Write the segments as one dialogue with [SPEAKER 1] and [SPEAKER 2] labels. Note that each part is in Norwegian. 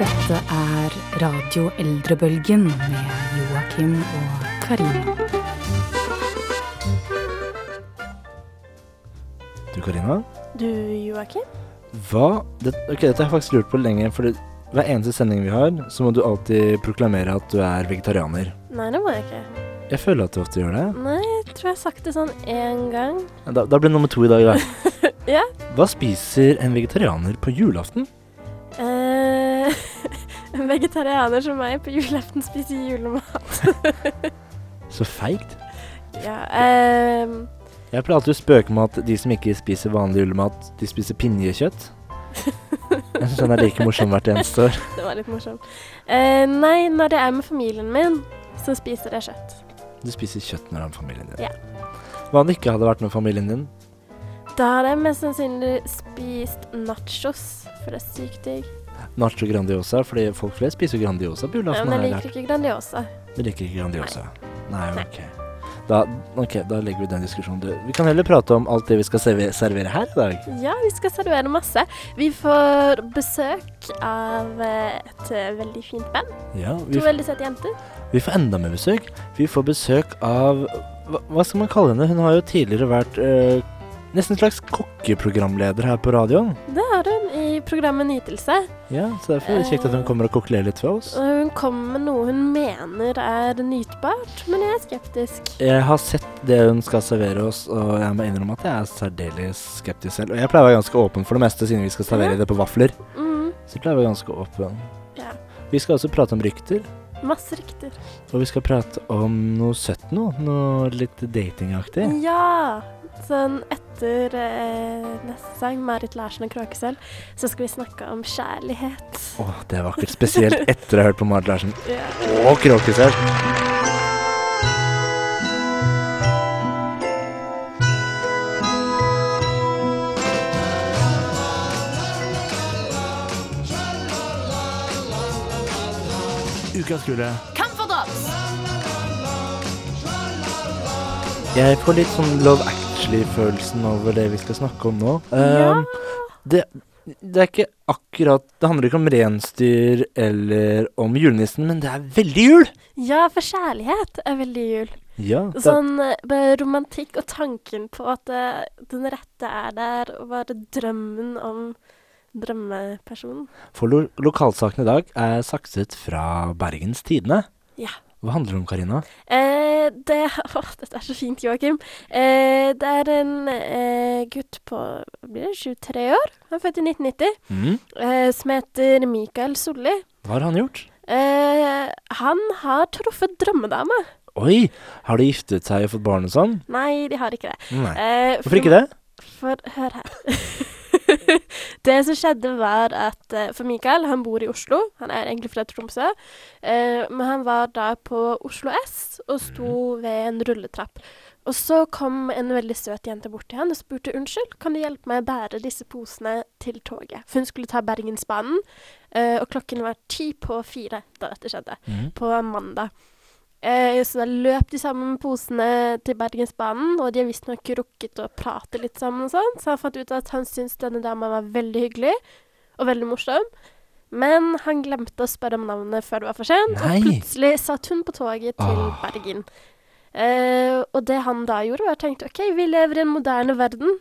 [SPEAKER 1] Dette er Radio Eldrebølgen med Joakim og Karina.
[SPEAKER 2] Du, Karina.
[SPEAKER 3] Du, Joakim?
[SPEAKER 2] Hva det, Ok, dette har jeg faktisk lurt på lenge, for hver eneste sending vi har, så må du alltid proklamere at du er vegetarianer.
[SPEAKER 3] Nei, det må jeg ikke.
[SPEAKER 2] Jeg føler at du ofte gjør det.
[SPEAKER 3] Nei, jeg tror jeg har sagt det sånn én gang.
[SPEAKER 2] Da, da blir det nummer to i dag, da.
[SPEAKER 3] Ja.
[SPEAKER 2] Hva spiser en vegetarianer på julaften?
[SPEAKER 3] Eh, en vegetarianer som meg på julaften spiser julemat.
[SPEAKER 2] Så feigt.
[SPEAKER 3] Ja, eh,
[SPEAKER 2] Jeg pleier alltid å spøke med at de som ikke spiser vanlig julemat, de spiser pinjekjøtt. Jeg syns den er like morsom hvert eneste år.
[SPEAKER 3] det var litt morsomt. Eh, nei, når jeg er med familien min, så spiser jeg kjøtt.
[SPEAKER 2] Du spiser kjøtt når du er med familien din.
[SPEAKER 3] Ja.
[SPEAKER 2] Hva om det ikke hadde vært med familien din?
[SPEAKER 3] Da har jeg mest sannsynlig spist nachos, for det er sykt digg.
[SPEAKER 2] Nacho Grandiosa, fordi folk flest spiser jo Grandiosa på
[SPEAKER 3] Ja,
[SPEAKER 2] julaften.
[SPEAKER 3] men
[SPEAKER 2] har
[SPEAKER 3] jeg
[SPEAKER 2] lært.
[SPEAKER 3] liker ikke Grandiosa.
[SPEAKER 2] Du liker ikke Grandiosa? Nei, ok. Da, ok, da legger vi den diskusjonen død. Vi kan heller prate om alt det vi skal serve- servere her i dag.
[SPEAKER 3] Ja, vi skal servere masse. Vi får besøk av eh, et eh, veldig fint band.
[SPEAKER 2] Ja, vi,
[SPEAKER 3] To veldig søte jenter.
[SPEAKER 2] f- vi får enda mer besøk. Vi får besøk av hva, hva skal man kalle henne? Hun har jo tidligere vært eh, nesten en slags kokkeprogramleder her på radioen.
[SPEAKER 3] Det har hun i programmet Nytelse.
[SPEAKER 2] Ja, så derfor er det kjekt at hun kommer og kokkelerer litt for oss.
[SPEAKER 3] Og hun kommer med noe hun mener er nytbart, men jeg er skeptisk.
[SPEAKER 2] Jeg har sett det hun skal servere oss, og jeg må innrømme at jeg er særdeles skeptisk selv. Og jeg pleier å være ganske åpen for det meste, siden vi skal servere det på vafler.
[SPEAKER 3] Mm,
[SPEAKER 2] Så jeg pleier å være ganske åpen.
[SPEAKER 3] Ja.
[SPEAKER 2] Vi skal også prate om rykter.
[SPEAKER 3] masse rykter.
[SPEAKER 2] Og vi skal prate om noe søtt nå. Noe litt datingaktig.
[SPEAKER 3] Mm. Ja! Sånn etter eh, neste sang, Marit Larsen og Kråkesølv, så skal vi snakke om kjærlighet.
[SPEAKER 2] Å, det er vakkert. Spesielt etter å ha hørt på Marit Larsen
[SPEAKER 3] Ja.
[SPEAKER 2] og Kråkesølv. Ukas kule. Jeg får litt sånn Love Actually-følelsen over det vi skal snakke om nå. Um, det, det er ikke akkurat Det handler ikke om reinsdyr eller om julenissen, men det er veldig jul!
[SPEAKER 3] ja, for kjærlighet er veldig jul.
[SPEAKER 2] Ja, det,
[SPEAKER 3] Sånn eh, bare romantikk og tanken på at eh, den rette er der, og bare drømmen om drømmepersonen.
[SPEAKER 2] For lo lokalsaken i dag er sakset fra Bergens Tidende.
[SPEAKER 3] Ja.
[SPEAKER 2] Hva handler det om, Karina?
[SPEAKER 3] Eh, det, å, dette er så fint, Joakim. Eh, det er en eh, gutt på blir det 23 år, han er født i 1990,
[SPEAKER 2] Mm.
[SPEAKER 3] eh, som heter Mikael Solli.
[SPEAKER 2] Hva har han gjort?
[SPEAKER 3] Eh, han har truffet drømmedama.
[SPEAKER 2] Oi! Har de giftet seg og fått barn og sånn?
[SPEAKER 3] Nei, de har ikke det.
[SPEAKER 2] Nei.
[SPEAKER 3] Eh,
[SPEAKER 2] Hvorfor ikke det?
[SPEAKER 3] For hør her. det som skjedde, var at eh, For Mikael, han bor i Oslo. Han er egentlig fra Tromsø. Eh, men han var da på Oslo S og sto ved en rulletrapp. Og så kom en veldig søt jente bort til han og spurte unnskyld, kan du hjelpe meg å bære disse posene til toget? For hun skulle ta Bergensbanen, eh, og klokken var ti på fire da dette skjedde
[SPEAKER 2] Mhm.
[SPEAKER 3] på mandag. Eh, så da løp de sammen med posene til Bergensbanen, og de har visstnok rukket å prate litt sammen og sånn, så han fant ut at han syntes denne dama var veldig hyggelig og veldig morsom. Men han glemte å spørre om navnet før det var for sent,
[SPEAKER 2] Nei.
[SPEAKER 3] og plutselig satt hun på toget til
[SPEAKER 2] Ah.
[SPEAKER 3] Bergen. Eh, og det han da gjorde, var å tenke OK, vi lever i en moderne verden,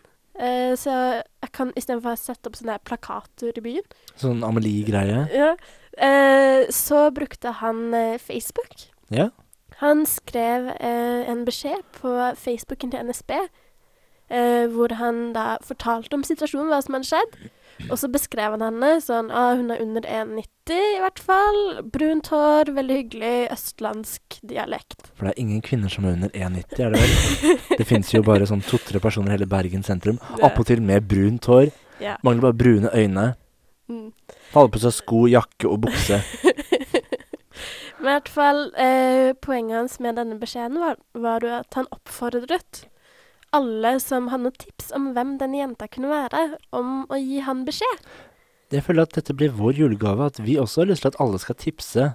[SPEAKER 3] eh, så jeg kan istedenfor å sette opp sånne her plakater i byen
[SPEAKER 2] Sånn Amelie-greie.
[SPEAKER 3] ja. Eh, så brukte han eh, Facebook.
[SPEAKER 2] Ja.
[SPEAKER 3] Han skrev eh, en beskjed på Facebooken til NSB, eh, hvor han da fortalte om situasjonen, hva som hadde skjedd. Og så beskrev han henne sånn ah, Hun er under 1,90 i hvert fall. Brunt hår, veldig hyggelig østlandsk dialekt.
[SPEAKER 2] For det er ingen kvinner som er under 1,90, er det vel? Det fins jo bare sånn to-tre personer i hele Bergen sentrum.
[SPEAKER 3] Det-
[SPEAKER 2] Appåtil med brunt hår.
[SPEAKER 3] Ja.
[SPEAKER 2] Mangler bare brune øyne.
[SPEAKER 3] Mm.
[SPEAKER 2] Faller på seg sko, jakke og bukse.
[SPEAKER 3] Men i hvert fall, eh, poenget hans med denne beskjeden var, var jo at han oppfordret alle som hadde noen tips om hvem denne jenta kunne være, om å gi han beskjed.
[SPEAKER 2] Jeg føler at dette blir vår julegave, at vi også har lyst til at alle skal tipse.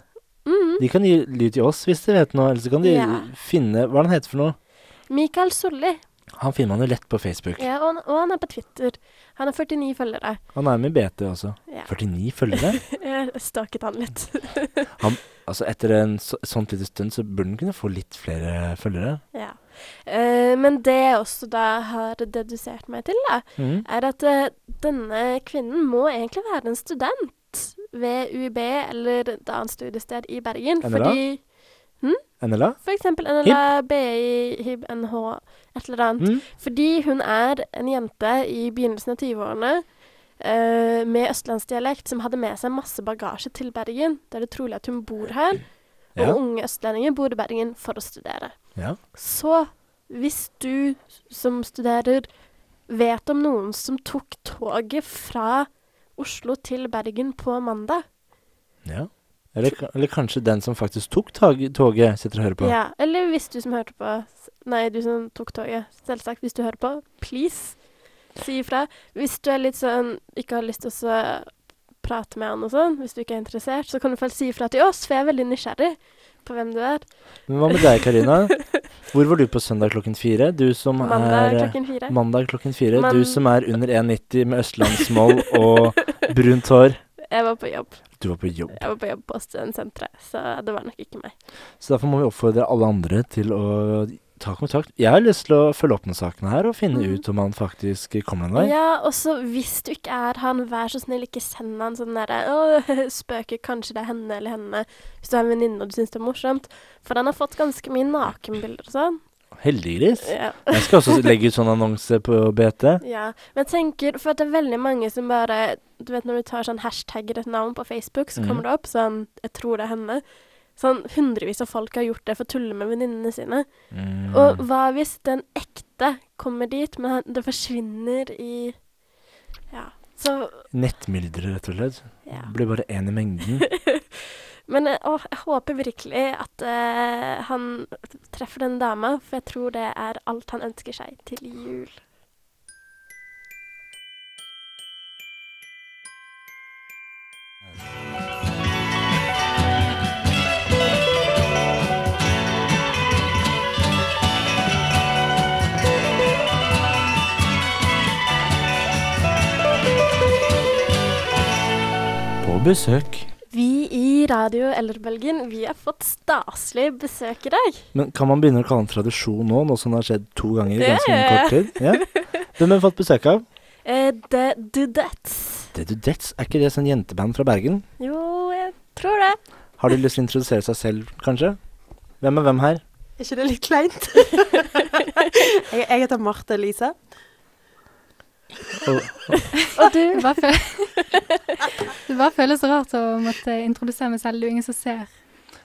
[SPEAKER 3] Mhm.
[SPEAKER 2] De kan gi lyd til oss hvis de vet noe, eller så kan de
[SPEAKER 3] Ja.
[SPEAKER 2] finne Hva er det han heter for noe?
[SPEAKER 3] Mikael Solli.
[SPEAKER 2] Han finner man jo lett på Facebook.
[SPEAKER 3] Ja, og, han, og han er på Twitter. Han har 49 følgere.
[SPEAKER 2] Han er med i BT også.
[SPEAKER 3] Ja.
[SPEAKER 2] 49 følgere?
[SPEAKER 3] Jeg staket han litt.
[SPEAKER 2] altså Etter en så, sånt lite stund så burde han kunne få litt flere følgere.
[SPEAKER 3] ja. Eh, men det jeg også da har dedusert meg til, da,
[SPEAKER 2] Mm.
[SPEAKER 3] er at eh, denne kvinnen må egentlig være en student ved UiB eller et annet studiested i Bergen.
[SPEAKER 2] NLA?
[SPEAKER 3] Fordi
[SPEAKER 2] NLA?
[SPEAKER 3] for eksempel NLA, BI, HIB, NH, et eller annet.
[SPEAKER 2] Mm.
[SPEAKER 3] Fordi hun er en jente i begynnelsen av 20-årene eh, med østlandsdialekt som hadde med seg masse bagasje til Bergen. Det er det trolig at hun bor her. Og
[SPEAKER 2] Ja.
[SPEAKER 3] unge østlendinger bor i Bergen for å studere.
[SPEAKER 2] Ja.
[SPEAKER 3] Så hvis du som studerer vet om noen som tok toget fra Oslo til Bergen på mandag,
[SPEAKER 2] ja. Eller, ka- eller kanskje den som faktisk tok tag- toget, sitter og hører på.
[SPEAKER 3] ja, eller hvis du som hørte på s- Nei, du som tok toget, selvsagt, hvis du hører på, please, si ifra. Hvis du er litt sånn ikke har lyst til å så prate med han og sånn, hvis du ikke er interessert, så kan du i hvert fall si ifra til oss, for jeg er veldig nysgjerrig på hvem du er.
[SPEAKER 2] Men hva med deg, Karina? Hvor var du på søndag klokken fire? Du som
[SPEAKER 3] Mandag
[SPEAKER 2] er eh,
[SPEAKER 3] klokken fire.
[SPEAKER 2] Mandag klokken fire.
[SPEAKER 3] Man-
[SPEAKER 2] Du som er under 1,90 med østlandsmål og brunt hår.
[SPEAKER 3] Jeg var på jobb.
[SPEAKER 2] Du var på jobb.
[SPEAKER 3] Jeg var på jobb på studentsenteret, så det var nok ikke meg.
[SPEAKER 2] Så derfor må vi oppfordre alle andre til å ta kontakt. Jeg har lyst til å følge opp med saken her og finne
[SPEAKER 3] Mhm.
[SPEAKER 2] ut om han faktisk kommer en vei.
[SPEAKER 3] Ja, og så hvis du ikke er han, vær så snill, ikke send han sånn derre «Å, Spøker, kanskje det er henne eller henne. Hvis du har en venninne og du syns det er morsomt. For han har fått ganske mye nakenbilder og sånn.
[SPEAKER 2] Heldiggris.
[SPEAKER 3] Ja.
[SPEAKER 2] Jeg skal også legge ut sånn annonse på BT.
[SPEAKER 3] ja. Men jeg tenker, for at det er veldig mange som bare Du vet når du tar sånn hashtagger et navn på Facebook, så
[SPEAKER 2] Mhm.
[SPEAKER 3] kommer det opp sånn Jeg tror det er henne. Sånn hundrevis av folk har gjort det for å tulle med venninnene sine.
[SPEAKER 2] Mm.
[SPEAKER 3] Og hva hvis den ekte kommer dit, men han- det forsvinner i Ja. Så
[SPEAKER 2] Nettmyldere, rett og slett.
[SPEAKER 3] ja.
[SPEAKER 2] Blir bare én i mengden.
[SPEAKER 3] Men eh, åh, jeg håper virkelig at eh, han treffer den dama, for jeg tror det er alt han ønsker seg til jul.
[SPEAKER 2] På besøk.
[SPEAKER 3] Vi i Radio Elderbølgen, vi har fått staselig besøk i dag.
[SPEAKER 2] Men kan man begynne å kalle det en tradisjon nå, nå som det har skjedd to ganger i
[SPEAKER 3] Ja,
[SPEAKER 2] ganske
[SPEAKER 3] ja, ja.
[SPEAKER 2] kort tid? Ja. Hvem har vi fått besøk av?
[SPEAKER 3] Eh, The Dudettes.
[SPEAKER 2] The Dudettes. Er ikke det sånn jenteband fra Bergen?
[SPEAKER 3] Jo, jeg tror det.
[SPEAKER 2] Har de lyst til å introdusere seg selv, kanskje? Hvem er hvem her?
[SPEAKER 4] Er ikke det litt kleint? jeg, jeg heter Marte Elise.
[SPEAKER 2] Og,
[SPEAKER 3] Og du?
[SPEAKER 5] Det bare, føl det bare føles rart å måtte introdusere meg selv. Det er jo ingen som ser.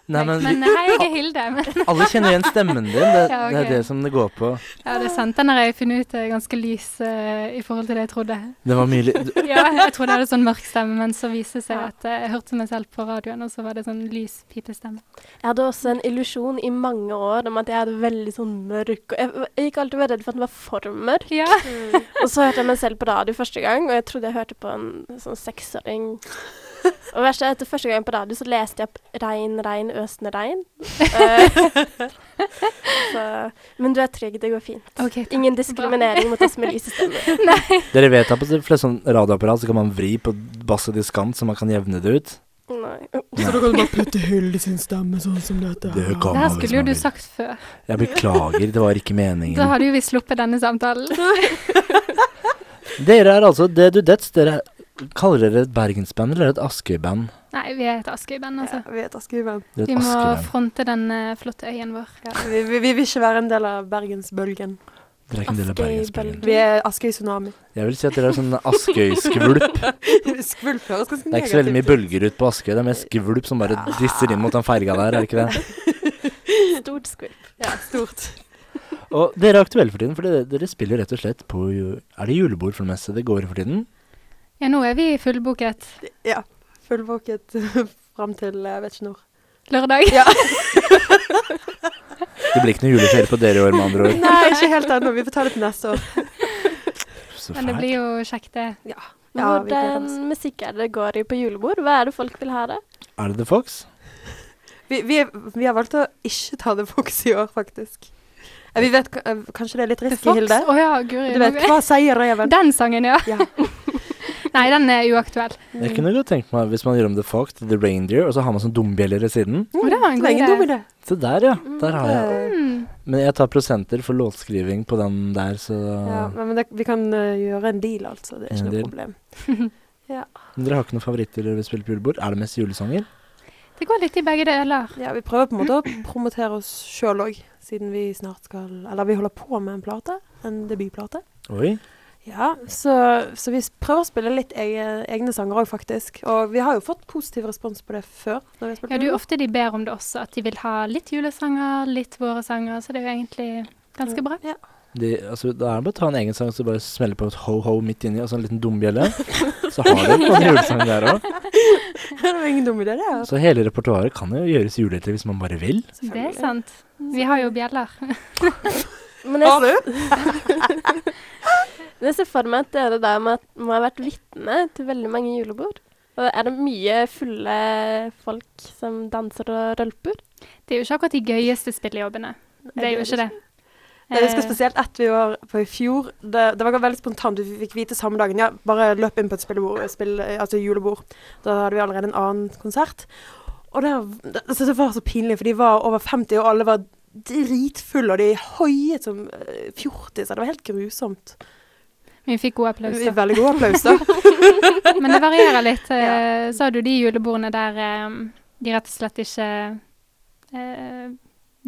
[SPEAKER 2] nei,
[SPEAKER 5] meg.
[SPEAKER 2] men
[SPEAKER 5] men hei, jeg er Hilde. Men,
[SPEAKER 2] vi, alle kjenner igjen stemmen din. Det,
[SPEAKER 5] Ja, ok.
[SPEAKER 2] det er det som det går på.
[SPEAKER 5] ja, det er sant. Den har jeg funnet ut er ganske lys eh, i forhold til det jeg trodde.
[SPEAKER 2] Det var mye li-
[SPEAKER 5] Ja, jeg trodde jeg hadde sånn mørk stemme, men så viste det seg at eh, jeg hørte meg selv på radioen, og så var det sånn lys pipestemme.
[SPEAKER 3] Jeg hadde også en illusjon i mange år om at jeg hadde veldig sånn mørk og jeg, jeg gikk alltid og var redd for at den var for mørk.
[SPEAKER 5] Ja,
[SPEAKER 3] Og så hørte jeg meg selv på radio første gang, og jeg trodde jeg hørte på en sånn seksåring. Og verst er at første gang på radio så leste jeg opp 'Regn, regn, øsende regn'. Eh, så, men du er trygg, det går fint.
[SPEAKER 5] ok. takk.
[SPEAKER 3] Ingen diskriminering mot oss med lyse stemmer.
[SPEAKER 2] Dere vet at på de fleste sånn radioapparat så kan man vri på bass og diskant, så man kan jevne det ut.
[SPEAKER 3] Nei.
[SPEAKER 4] Så da kan du bare putte hull i sin stemme, sånn som dette.
[SPEAKER 2] Det kan
[SPEAKER 5] Det
[SPEAKER 2] man
[SPEAKER 5] her
[SPEAKER 2] hvis
[SPEAKER 5] skulle jo
[SPEAKER 2] man
[SPEAKER 5] du
[SPEAKER 2] vil.
[SPEAKER 5] sagt før.
[SPEAKER 2] Jeg beklager, det var ikke
[SPEAKER 5] Da
[SPEAKER 2] meningen.
[SPEAKER 5] hadde jo vi sluppet denne samtalen.
[SPEAKER 2] Dere er altså The Dudettes. Dere kaller dere et bergensband eller et Askøy-band?
[SPEAKER 5] Nei, vi er et Askøy-band, altså.
[SPEAKER 4] Ja, vi heter Askøyven.
[SPEAKER 2] Dere er
[SPEAKER 5] Vi
[SPEAKER 2] et
[SPEAKER 5] må
[SPEAKER 2] Askøy-band.
[SPEAKER 5] fronte den eh, flotte øyen vår.
[SPEAKER 4] Ja, vi, vi, vi vil ikke være en del av Bergensbølgen.
[SPEAKER 2] Dere er ikke en del av Bergensbølgen.
[SPEAKER 3] Askøy-bølgen.
[SPEAKER 4] Vi er Askøy Tsunami.
[SPEAKER 2] Jeg vil si at dere er sånn Askøy-skvulp.
[SPEAKER 4] Skvulp høres ganske
[SPEAKER 2] Det er ikke så veldig mye bølger ut på Askøy. Det er mest skvulp som bare
[SPEAKER 5] Ah.
[SPEAKER 2] disser inn mot den ferga der, er det ikke det?
[SPEAKER 3] Stort skvulp.
[SPEAKER 4] Ja, stort.
[SPEAKER 2] Og dere er aktuelle for tiden, for dere, dere spiller rett og slett på ju- Er det julebord for det meste det går for tiden?
[SPEAKER 5] Ja, nå er vi fullboket
[SPEAKER 4] Ja. Fullvåket fram til jeg vet ikke når.
[SPEAKER 5] lørdag.
[SPEAKER 2] Det blir ikke noe juleferie på dere i år, med andre ord.
[SPEAKER 4] Nei, ikke helt ennå. Vi får ta det til neste år.
[SPEAKER 2] Så
[SPEAKER 5] Men det
[SPEAKER 2] fælt.
[SPEAKER 5] blir jo kjekt, det.
[SPEAKER 4] Ja, vi gleder
[SPEAKER 3] Hvordan
[SPEAKER 4] oss.
[SPEAKER 3] musikk er det det går i på julebord? Hva er det folk vil ha det?
[SPEAKER 2] Er det The Fox?
[SPEAKER 4] Vi, vi, vi har valgt å ikke ta det fokus i år, faktisk. Ja, vi vet, k- eh, kanskje det er litt
[SPEAKER 5] The
[SPEAKER 4] risky,
[SPEAKER 5] Fox?
[SPEAKER 4] Hilde?
[SPEAKER 5] Å ja, guri.
[SPEAKER 4] Du vet, hva sier reven?
[SPEAKER 5] Den sangen, ja.
[SPEAKER 4] Ja.
[SPEAKER 5] Nei, den er uaktuell.
[SPEAKER 2] Jeg kunne godt tenkt meg, hvis man gjør om The Fox til The Reindeer, og så har man sånn dombjeller i siden.
[SPEAKER 5] Å, det var en
[SPEAKER 4] Mm. Det er ingen
[SPEAKER 5] god
[SPEAKER 4] dum
[SPEAKER 5] idé.
[SPEAKER 4] idé.
[SPEAKER 2] Se der, ja. Der har jeg
[SPEAKER 4] Eh,
[SPEAKER 5] Mm.
[SPEAKER 2] Men jeg tar prosenter for låtskriving på den der, så
[SPEAKER 4] Ja, men det, vi kan eh, gjøre en deal, altså. Det er
[SPEAKER 2] En
[SPEAKER 4] ikke noe
[SPEAKER 2] deal.
[SPEAKER 4] problem.
[SPEAKER 2] Men Dere har ikke noen favoritter dere vil spille på julebord? Er det mest julesanger?
[SPEAKER 5] Det går litt i begge deler.
[SPEAKER 4] Ja, vi prøver på en måte å promotere oss sjøl òg, siden vi snart skal Eller vi holder på med en plate. En debutplate.
[SPEAKER 2] Oi.
[SPEAKER 4] Ja, så, så vi s- prøver å spille litt egne, egne sanger òg, faktisk. Og vi har jo fått positiv respons på det før. Når vi har spilt
[SPEAKER 5] Ja, det er
[SPEAKER 4] på
[SPEAKER 5] jo ofte de ber om det også, at de vil ha litt julesanger, litt våre sanger, så det er jo egentlig ganske bra.
[SPEAKER 4] Ja.
[SPEAKER 2] De, altså, da er det bare å ta en egen sang og så bare smelle på et ho-ho midt inni, og så en liten dombjelle. Så har dere på en julesang der òg.
[SPEAKER 4] det var ingen dum idé, det.
[SPEAKER 2] Så hele repertoaret kan jo gjøres julete hvis man bare vil.
[SPEAKER 5] Det er sant. Vi har jo bjeller.
[SPEAKER 3] Men jeg,
[SPEAKER 4] du?
[SPEAKER 3] men jeg ser for meg at dere da må, må ha vært vitne til veldig mange julebord. Og er det mye fulle folk som danser og rølper?
[SPEAKER 5] Det er jo ikke akkurat de gøyeste spillejobbene. Det er jo ikke
[SPEAKER 4] Jeg
[SPEAKER 5] det.
[SPEAKER 4] husker
[SPEAKER 5] Eh,
[SPEAKER 4] spesielt ett vi var på i fjor. Det, det var veldig spontant. Vi fikk vite samme dagen ja, bare løp inn på et spillebord, spill, altså julebord. Da hadde vi allerede en annen konsert. Og det, det, altså, det var så pinlig, for de var over 50, og alle var dritfulle, og de hoiet som eh, fjortiser. Det var helt grusomt.
[SPEAKER 5] Vi fikk god applaus. da.
[SPEAKER 4] Veldig god applaus, da.
[SPEAKER 5] Men det varierer litt. eh, Så har du de julebordene der eh, de rett og slett ikke eh,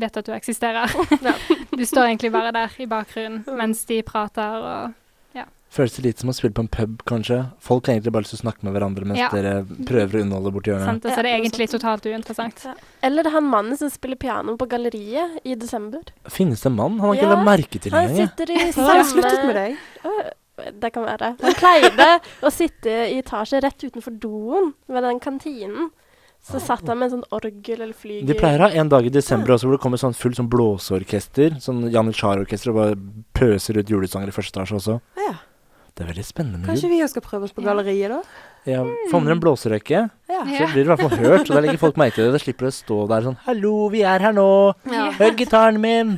[SPEAKER 5] vet at du eksisterer.
[SPEAKER 3] Ja.
[SPEAKER 5] Du står egentlig bare der i bakgrunnen mens de prater og
[SPEAKER 2] Føles det litt som å spille på en pub, kanskje? Folk har egentlig bare lyst til å snakke med hverandre mens
[SPEAKER 5] Ja.
[SPEAKER 2] dere prøver å underholde borti hjørnet.
[SPEAKER 5] sant, og så er det
[SPEAKER 4] Ja,
[SPEAKER 5] egentlig totalt uinteressant.
[SPEAKER 3] Eller det er han mannen som spiller piano på galleriet i desember.
[SPEAKER 2] Finnes det en mann? Han har ikke
[SPEAKER 3] Ja.
[SPEAKER 2] lagt merke til det
[SPEAKER 3] Han
[SPEAKER 2] engang. jeg.
[SPEAKER 3] sitter i
[SPEAKER 4] Har jeg sluttet med
[SPEAKER 3] samme
[SPEAKER 4] deg?
[SPEAKER 3] Det kan være. Han pleide å sitte i etasje rett utenfor doen ved den kantinen. Så satt han med en sånn orgel eller flygel.
[SPEAKER 2] De pleier å ha en dag i desember også hvor det kommer sånn fullt sånn blåseorkester, sånn janitsjar-orkester, og bare pøser ut julesanger i første etasje også.
[SPEAKER 4] Ja.
[SPEAKER 2] Det er veldig spennende med jul.
[SPEAKER 4] Kanskje vi også skal prøve oss på galleriet, da?
[SPEAKER 2] Ja, Favner en blåserøyke,
[SPEAKER 4] Ja.
[SPEAKER 2] så blir det i hvert fall hørt. Og da legger folk merke til det. Da slipper du å stå der sånn 'Hallo, vi er her nå.
[SPEAKER 4] Ja.
[SPEAKER 2] Hør gitaren min.'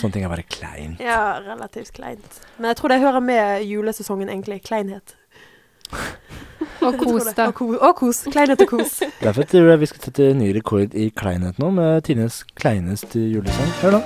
[SPEAKER 2] Sånne ting er bare klein.
[SPEAKER 4] ja, relativt kleint. Men jeg tror det hører med julesesongen, egentlig. Kleinhet.
[SPEAKER 5] Og kos, da.
[SPEAKER 4] Og, ko og kos. Kleinhet og kos.
[SPEAKER 2] Derfor tror jeg vi skal sette ny rekord i kleinhet nå, med tidenes kleineste julesang. Hør nå.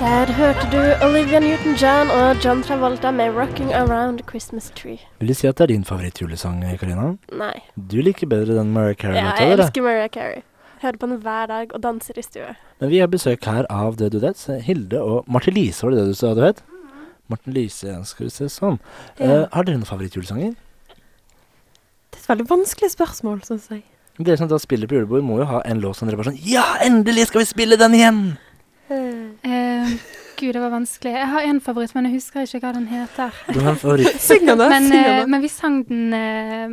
[SPEAKER 3] Der hørte du Olivia Newton-John og John Travolta med 'Rocking Around a Christmas Tree'.
[SPEAKER 2] Vil du si at det er din favorittjulesang, Karina?
[SPEAKER 3] Nei.
[SPEAKER 2] Du liker bedre den Mariah
[SPEAKER 3] Ja,
[SPEAKER 2] Carey-låta,
[SPEAKER 3] jeg
[SPEAKER 2] eller?
[SPEAKER 3] elsker Mariah Carey. Hører på den hver dag og danser i stua.
[SPEAKER 2] Men vi har besøk her av The Dudettes, Hilde og Martin Lise, var det det du sa du het? Martin Lise, ja, skal vi se sånn. Eh, har dere noen favorittjulesanger?
[SPEAKER 4] Det er et veldig vanskelig spørsmål, syns jeg.
[SPEAKER 2] Dere som da spiller på julebord, må jo ha en låt som dere bare sånn Ja, endelig skal vi spille den igjen!
[SPEAKER 5] Eh, Gud, det var vanskelig. Jeg har én favoritt, men jeg husker ikke hva den heter.
[SPEAKER 2] Du har en favoritt.
[SPEAKER 4] Syng den, da.
[SPEAKER 5] Men,
[SPEAKER 4] syng
[SPEAKER 5] eh,
[SPEAKER 4] den da.
[SPEAKER 5] men vi sang den eh,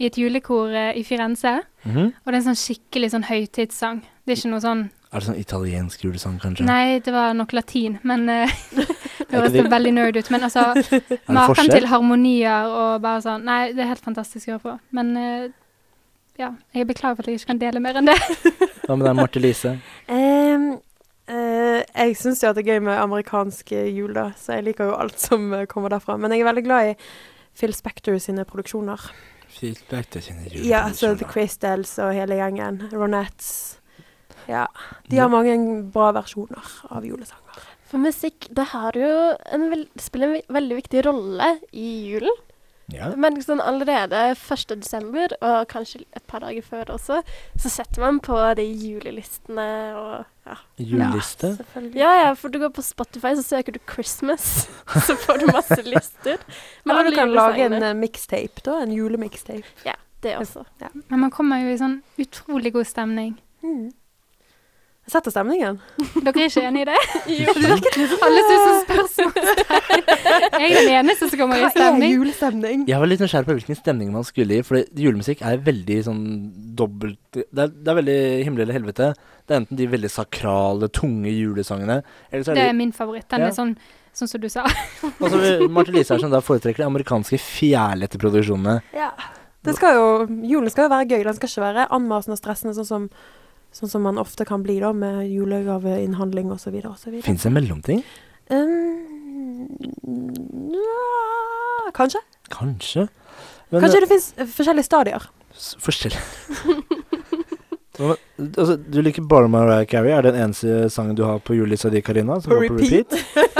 [SPEAKER 5] i et julekor eh, i Firenze,
[SPEAKER 2] Mhm.
[SPEAKER 5] og det er en sånn skikkelig sånn høytidssang. Det er ikke noe sånn
[SPEAKER 2] Er det sånn italiensk julesang, kanskje?
[SPEAKER 5] Nei, det var nok latin, men eh, Det høres
[SPEAKER 2] det-
[SPEAKER 5] veldig nerd ut, men altså
[SPEAKER 2] Er det
[SPEAKER 5] Maken
[SPEAKER 2] forskjell?
[SPEAKER 5] til harmonier og bare sånn Nei, det er helt fantastisk å høre på. Men eh, ja, jeg beklager for at jeg ikke kan dele mer enn det.
[SPEAKER 2] Hva med deg, Martin Lise?
[SPEAKER 4] Ehm, eh, jeg syns jo at det er gøy med amerikansk eh, jul, da, så jeg liker jo alt som eh, kommer derfra. Men jeg er veldig glad i Phil Spector sine produksjoner.
[SPEAKER 2] Feedback til sine
[SPEAKER 4] Ja, altså The Crystals og hele gjengen. Ronettes. Ja. De
[SPEAKER 2] Ja.
[SPEAKER 4] har mange bra versjoner av julesanger.
[SPEAKER 3] For musikk det har jo en vel, det spiller en vi- veldig viktig rolle i julen.
[SPEAKER 2] Ja.
[SPEAKER 3] Men sånn allerede 1. desember, og kanskje et par dager før også, så setter man på de julelistene og ja.
[SPEAKER 2] Juleliste.
[SPEAKER 4] Selvfølgelig.
[SPEAKER 3] Ja, ja, for du går på Spotify, så søker du 'Christmas', så får du masse lister. med
[SPEAKER 4] Eller
[SPEAKER 3] alle
[SPEAKER 4] du kan lage en
[SPEAKER 3] julesangene.
[SPEAKER 4] eh, mixtape, da. En julemixtape.
[SPEAKER 3] Det også.
[SPEAKER 5] Men man kommer jo i sånn utrolig god stemning.
[SPEAKER 4] Mm. Jeg setter stemningen.
[SPEAKER 5] Dere er ikke enig i det? Alle synes det er spørsmålstegn. Jeg er den eneste som kommer i stemning.
[SPEAKER 4] julestemning?
[SPEAKER 2] Jeg var litt nysgjerrig på hvilken stemning man skulle i, for julemusikk er veldig sånn dobbelt det er, det er veldig himmel eller helvete. Det er enten de veldig sakrale, tunge julesangene, eller så
[SPEAKER 5] Det
[SPEAKER 2] er
[SPEAKER 5] er
[SPEAKER 2] det
[SPEAKER 5] min favoritt. Den
[SPEAKER 2] Ja.
[SPEAKER 5] er sånn, sånn som du sa.
[SPEAKER 2] Altså, Martin Lisarsen da foretrekker de amerikanske fjærlette produksjonene.
[SPEAKER 3] Ja.
[SPEAKER 4] Det skal jo, julen skal jo være gøy. Den skal ikke være anmasende og stressende, sånn som, sånn som man ofte kan bli da, med julegaveinnhandling osv. osv.
[SPEAKER 2] Fins det en mellomting?
[SPEAKER 4] Um, nja, kanskje.
[SPEAKER 2] Kanskje. Men eh,
[SPEAKER 4] kanskje det fins forskjellige stadier.
[SPEAKER 2] s- forskjell Hva med- altså, Du liker bare Mariah Carey. Er det den eneste sangen du har på julelista di, Karina? Som
[SPEAKER 4] På
[SPEAKER 2] går på repeat?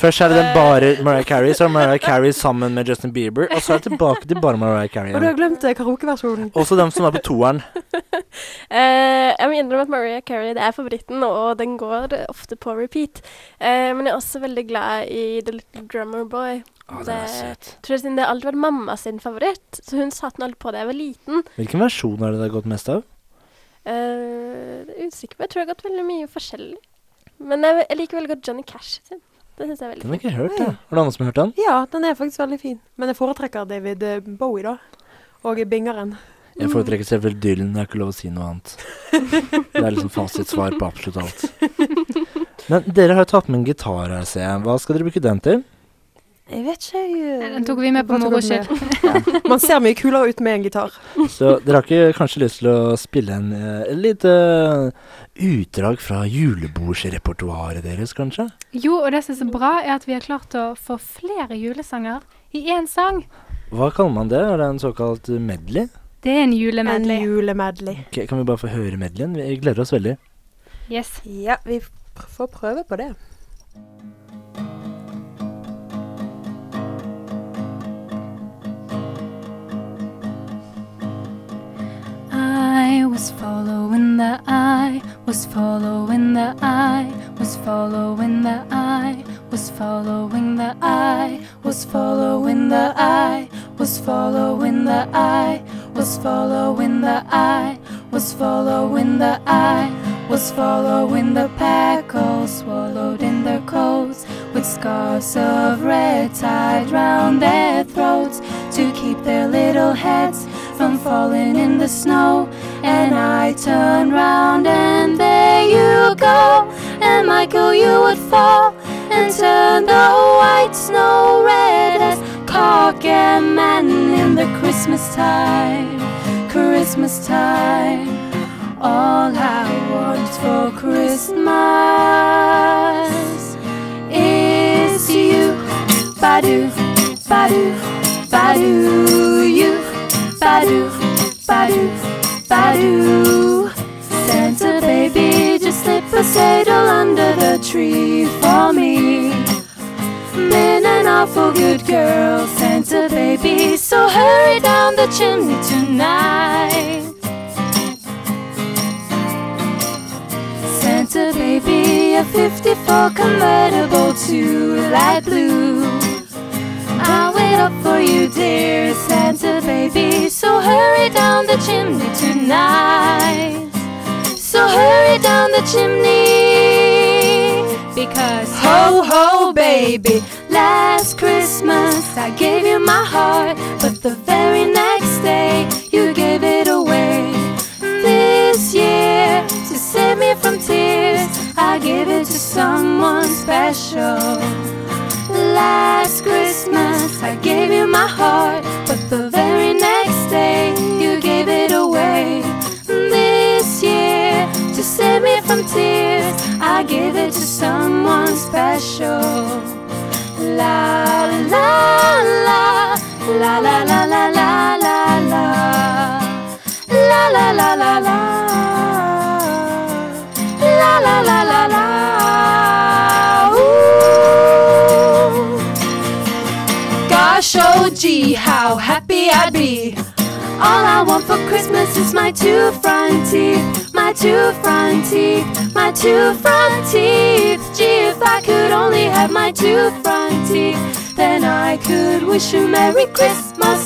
[SPEAKER 2] Først er det den bare Mariah Carey, så er det Mariah Carey sammen med Justin Bieber, og så er det tilbake til bare Mariah Carey.
[SPEAKER 4] Og du har
[SPEAKER 2] Igjen.
[SPEAKER 4] glemt eh, karaokeversjonen.
[SPEAKER 2] Også dem som er på toeren.
[SPEAKER 3] Eh, jeg må innrømme at Mariah Carey det er favoritten, og den går eh, ofte på repeat. Eh, men jeg er også veldig glad i The Little Drummer Boy.
[SPEAKER 2] Å, den
[SPEAKER 3] Det-
[SPEAKER 2] er søt.
[SPEAKER 3] Tror jeg siden Det har alltid vært mamma sin favoritt, så hun satte den alltid på da jeg var liten.
[SPEAKER 2] Hvilken versjon er det det har gått mest av?
[SPEAKER 3] Eh, det er usikker på, jeg tror jeg har gått veldig mye forskjellig. Men jeg, jeg liker veldig godt Johnny Cash sin. Det synes jeg er veldig
[SPEAKER 2] Den har jeg ikke hørt, jeg. Har du andre som har hørt den?
[SPEAKER 4] Ja, den er faktisk veldig fin. Men jeg foretrekker David eh, Bowie, da. Og Bingeren.
[SPEAKER 2] Jeg foretrekker selvfølgelig Dylan, det er ikke lov å si noe annet. Det er liksom fasitsvar på absolutt alt. Men dere har jo tatt med en gitar her, ser jeg. Hva skal dere bruke den til?
[SPEAKER 4] Jeg vet ikke
[SPEAKER 5] Nei,
[SPEAKER 4] jeg,
[SPEAKER 5] den tok vi med på
[SPEAKER 4] hva tok
[SPEAKER 5] moro
[SPEAKER 4] den med? Ja. Man ser mye kulere ut med en gitar.
[SPEAKER 2] Så dere har ikke kanskje lyst til å spille en eh, lite utdrag fra julebordsrepertoaret deres, kanskje?
[SPEAKER 5] Jo, og det som er så bra, er at vi har klart å få flere julesanger i én sang.
[SPEAKER 2] Hva kaller man det? Er det en såkalt medley?
[SPEAKER 5] Det er en
[SPEAKER 4] En
[SPEAKER 5] julemedley.
[SPEAKER 4] julemedley.
[SPEAKER 2] Ok, kan vi bare få høre medleyen? Vi gleder oss veldig.
[SPEAKER 5] Yes.
[SPEAKER 4] Ja, vi pr- får prøve på det.
[SPEAKER 5] I was following the eye, was following the eye, was following the eye, was following the eye, was following the eye, was following the eye, was following the eye, was following the eye, was following the pack, all swallowed in their coats, with scarves of red tied round their throats to keep their little heads from falling in the snow. And I turn round and there you go. And Michael, you would fall and turn the white snow red as cock and man in the Christmas time. Christmas time. All I want for Christmas is you. Badu, badu, badu, you. Badu, badu, badu. Santa baby, just slip a saddle under the tree for me. Been an awful good girl, Santa baby, so hurry down the chimney tonight. Santa baby, a 54 convertible to light blue. I'll wait up for you, dear Santa baby. So hurry down the chimney tonight. So hurry down the chimney. Because ho ho baby, last Christmas I gave you my heart, but the very next day you gave it away this year to save me from tears. I give it to someone special. Last Christmas, I gave you my heart, but the very next day, you gave it away. This year, to save me from tears, I give it to someone special. La la la, la la la la la la la. La la la la la. La la la la la. Ooh. Gosh, oh gee, how happy I'd be. All I want for Christmas is my two front teeth, my two front teeth, my two front teeth. Gee, if I could only have my two front teeth, then I could wish you Merry Christmas.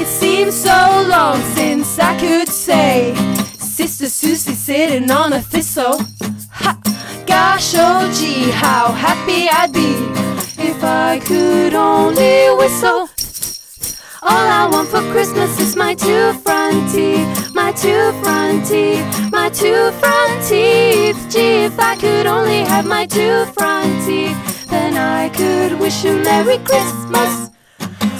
[SPEAKER 5] It seems so long since I could say,
[SPEAKER 6] Sister Susie sitting on a thistle. Ha! Gosh, oh gee, how happy I'd be if I could only whistle. All I want for Christmas is my two front teeth, my two front teeth, my two front teeth. Gee, if I could only have my two front teeth, then I could wish you Merry Christmas.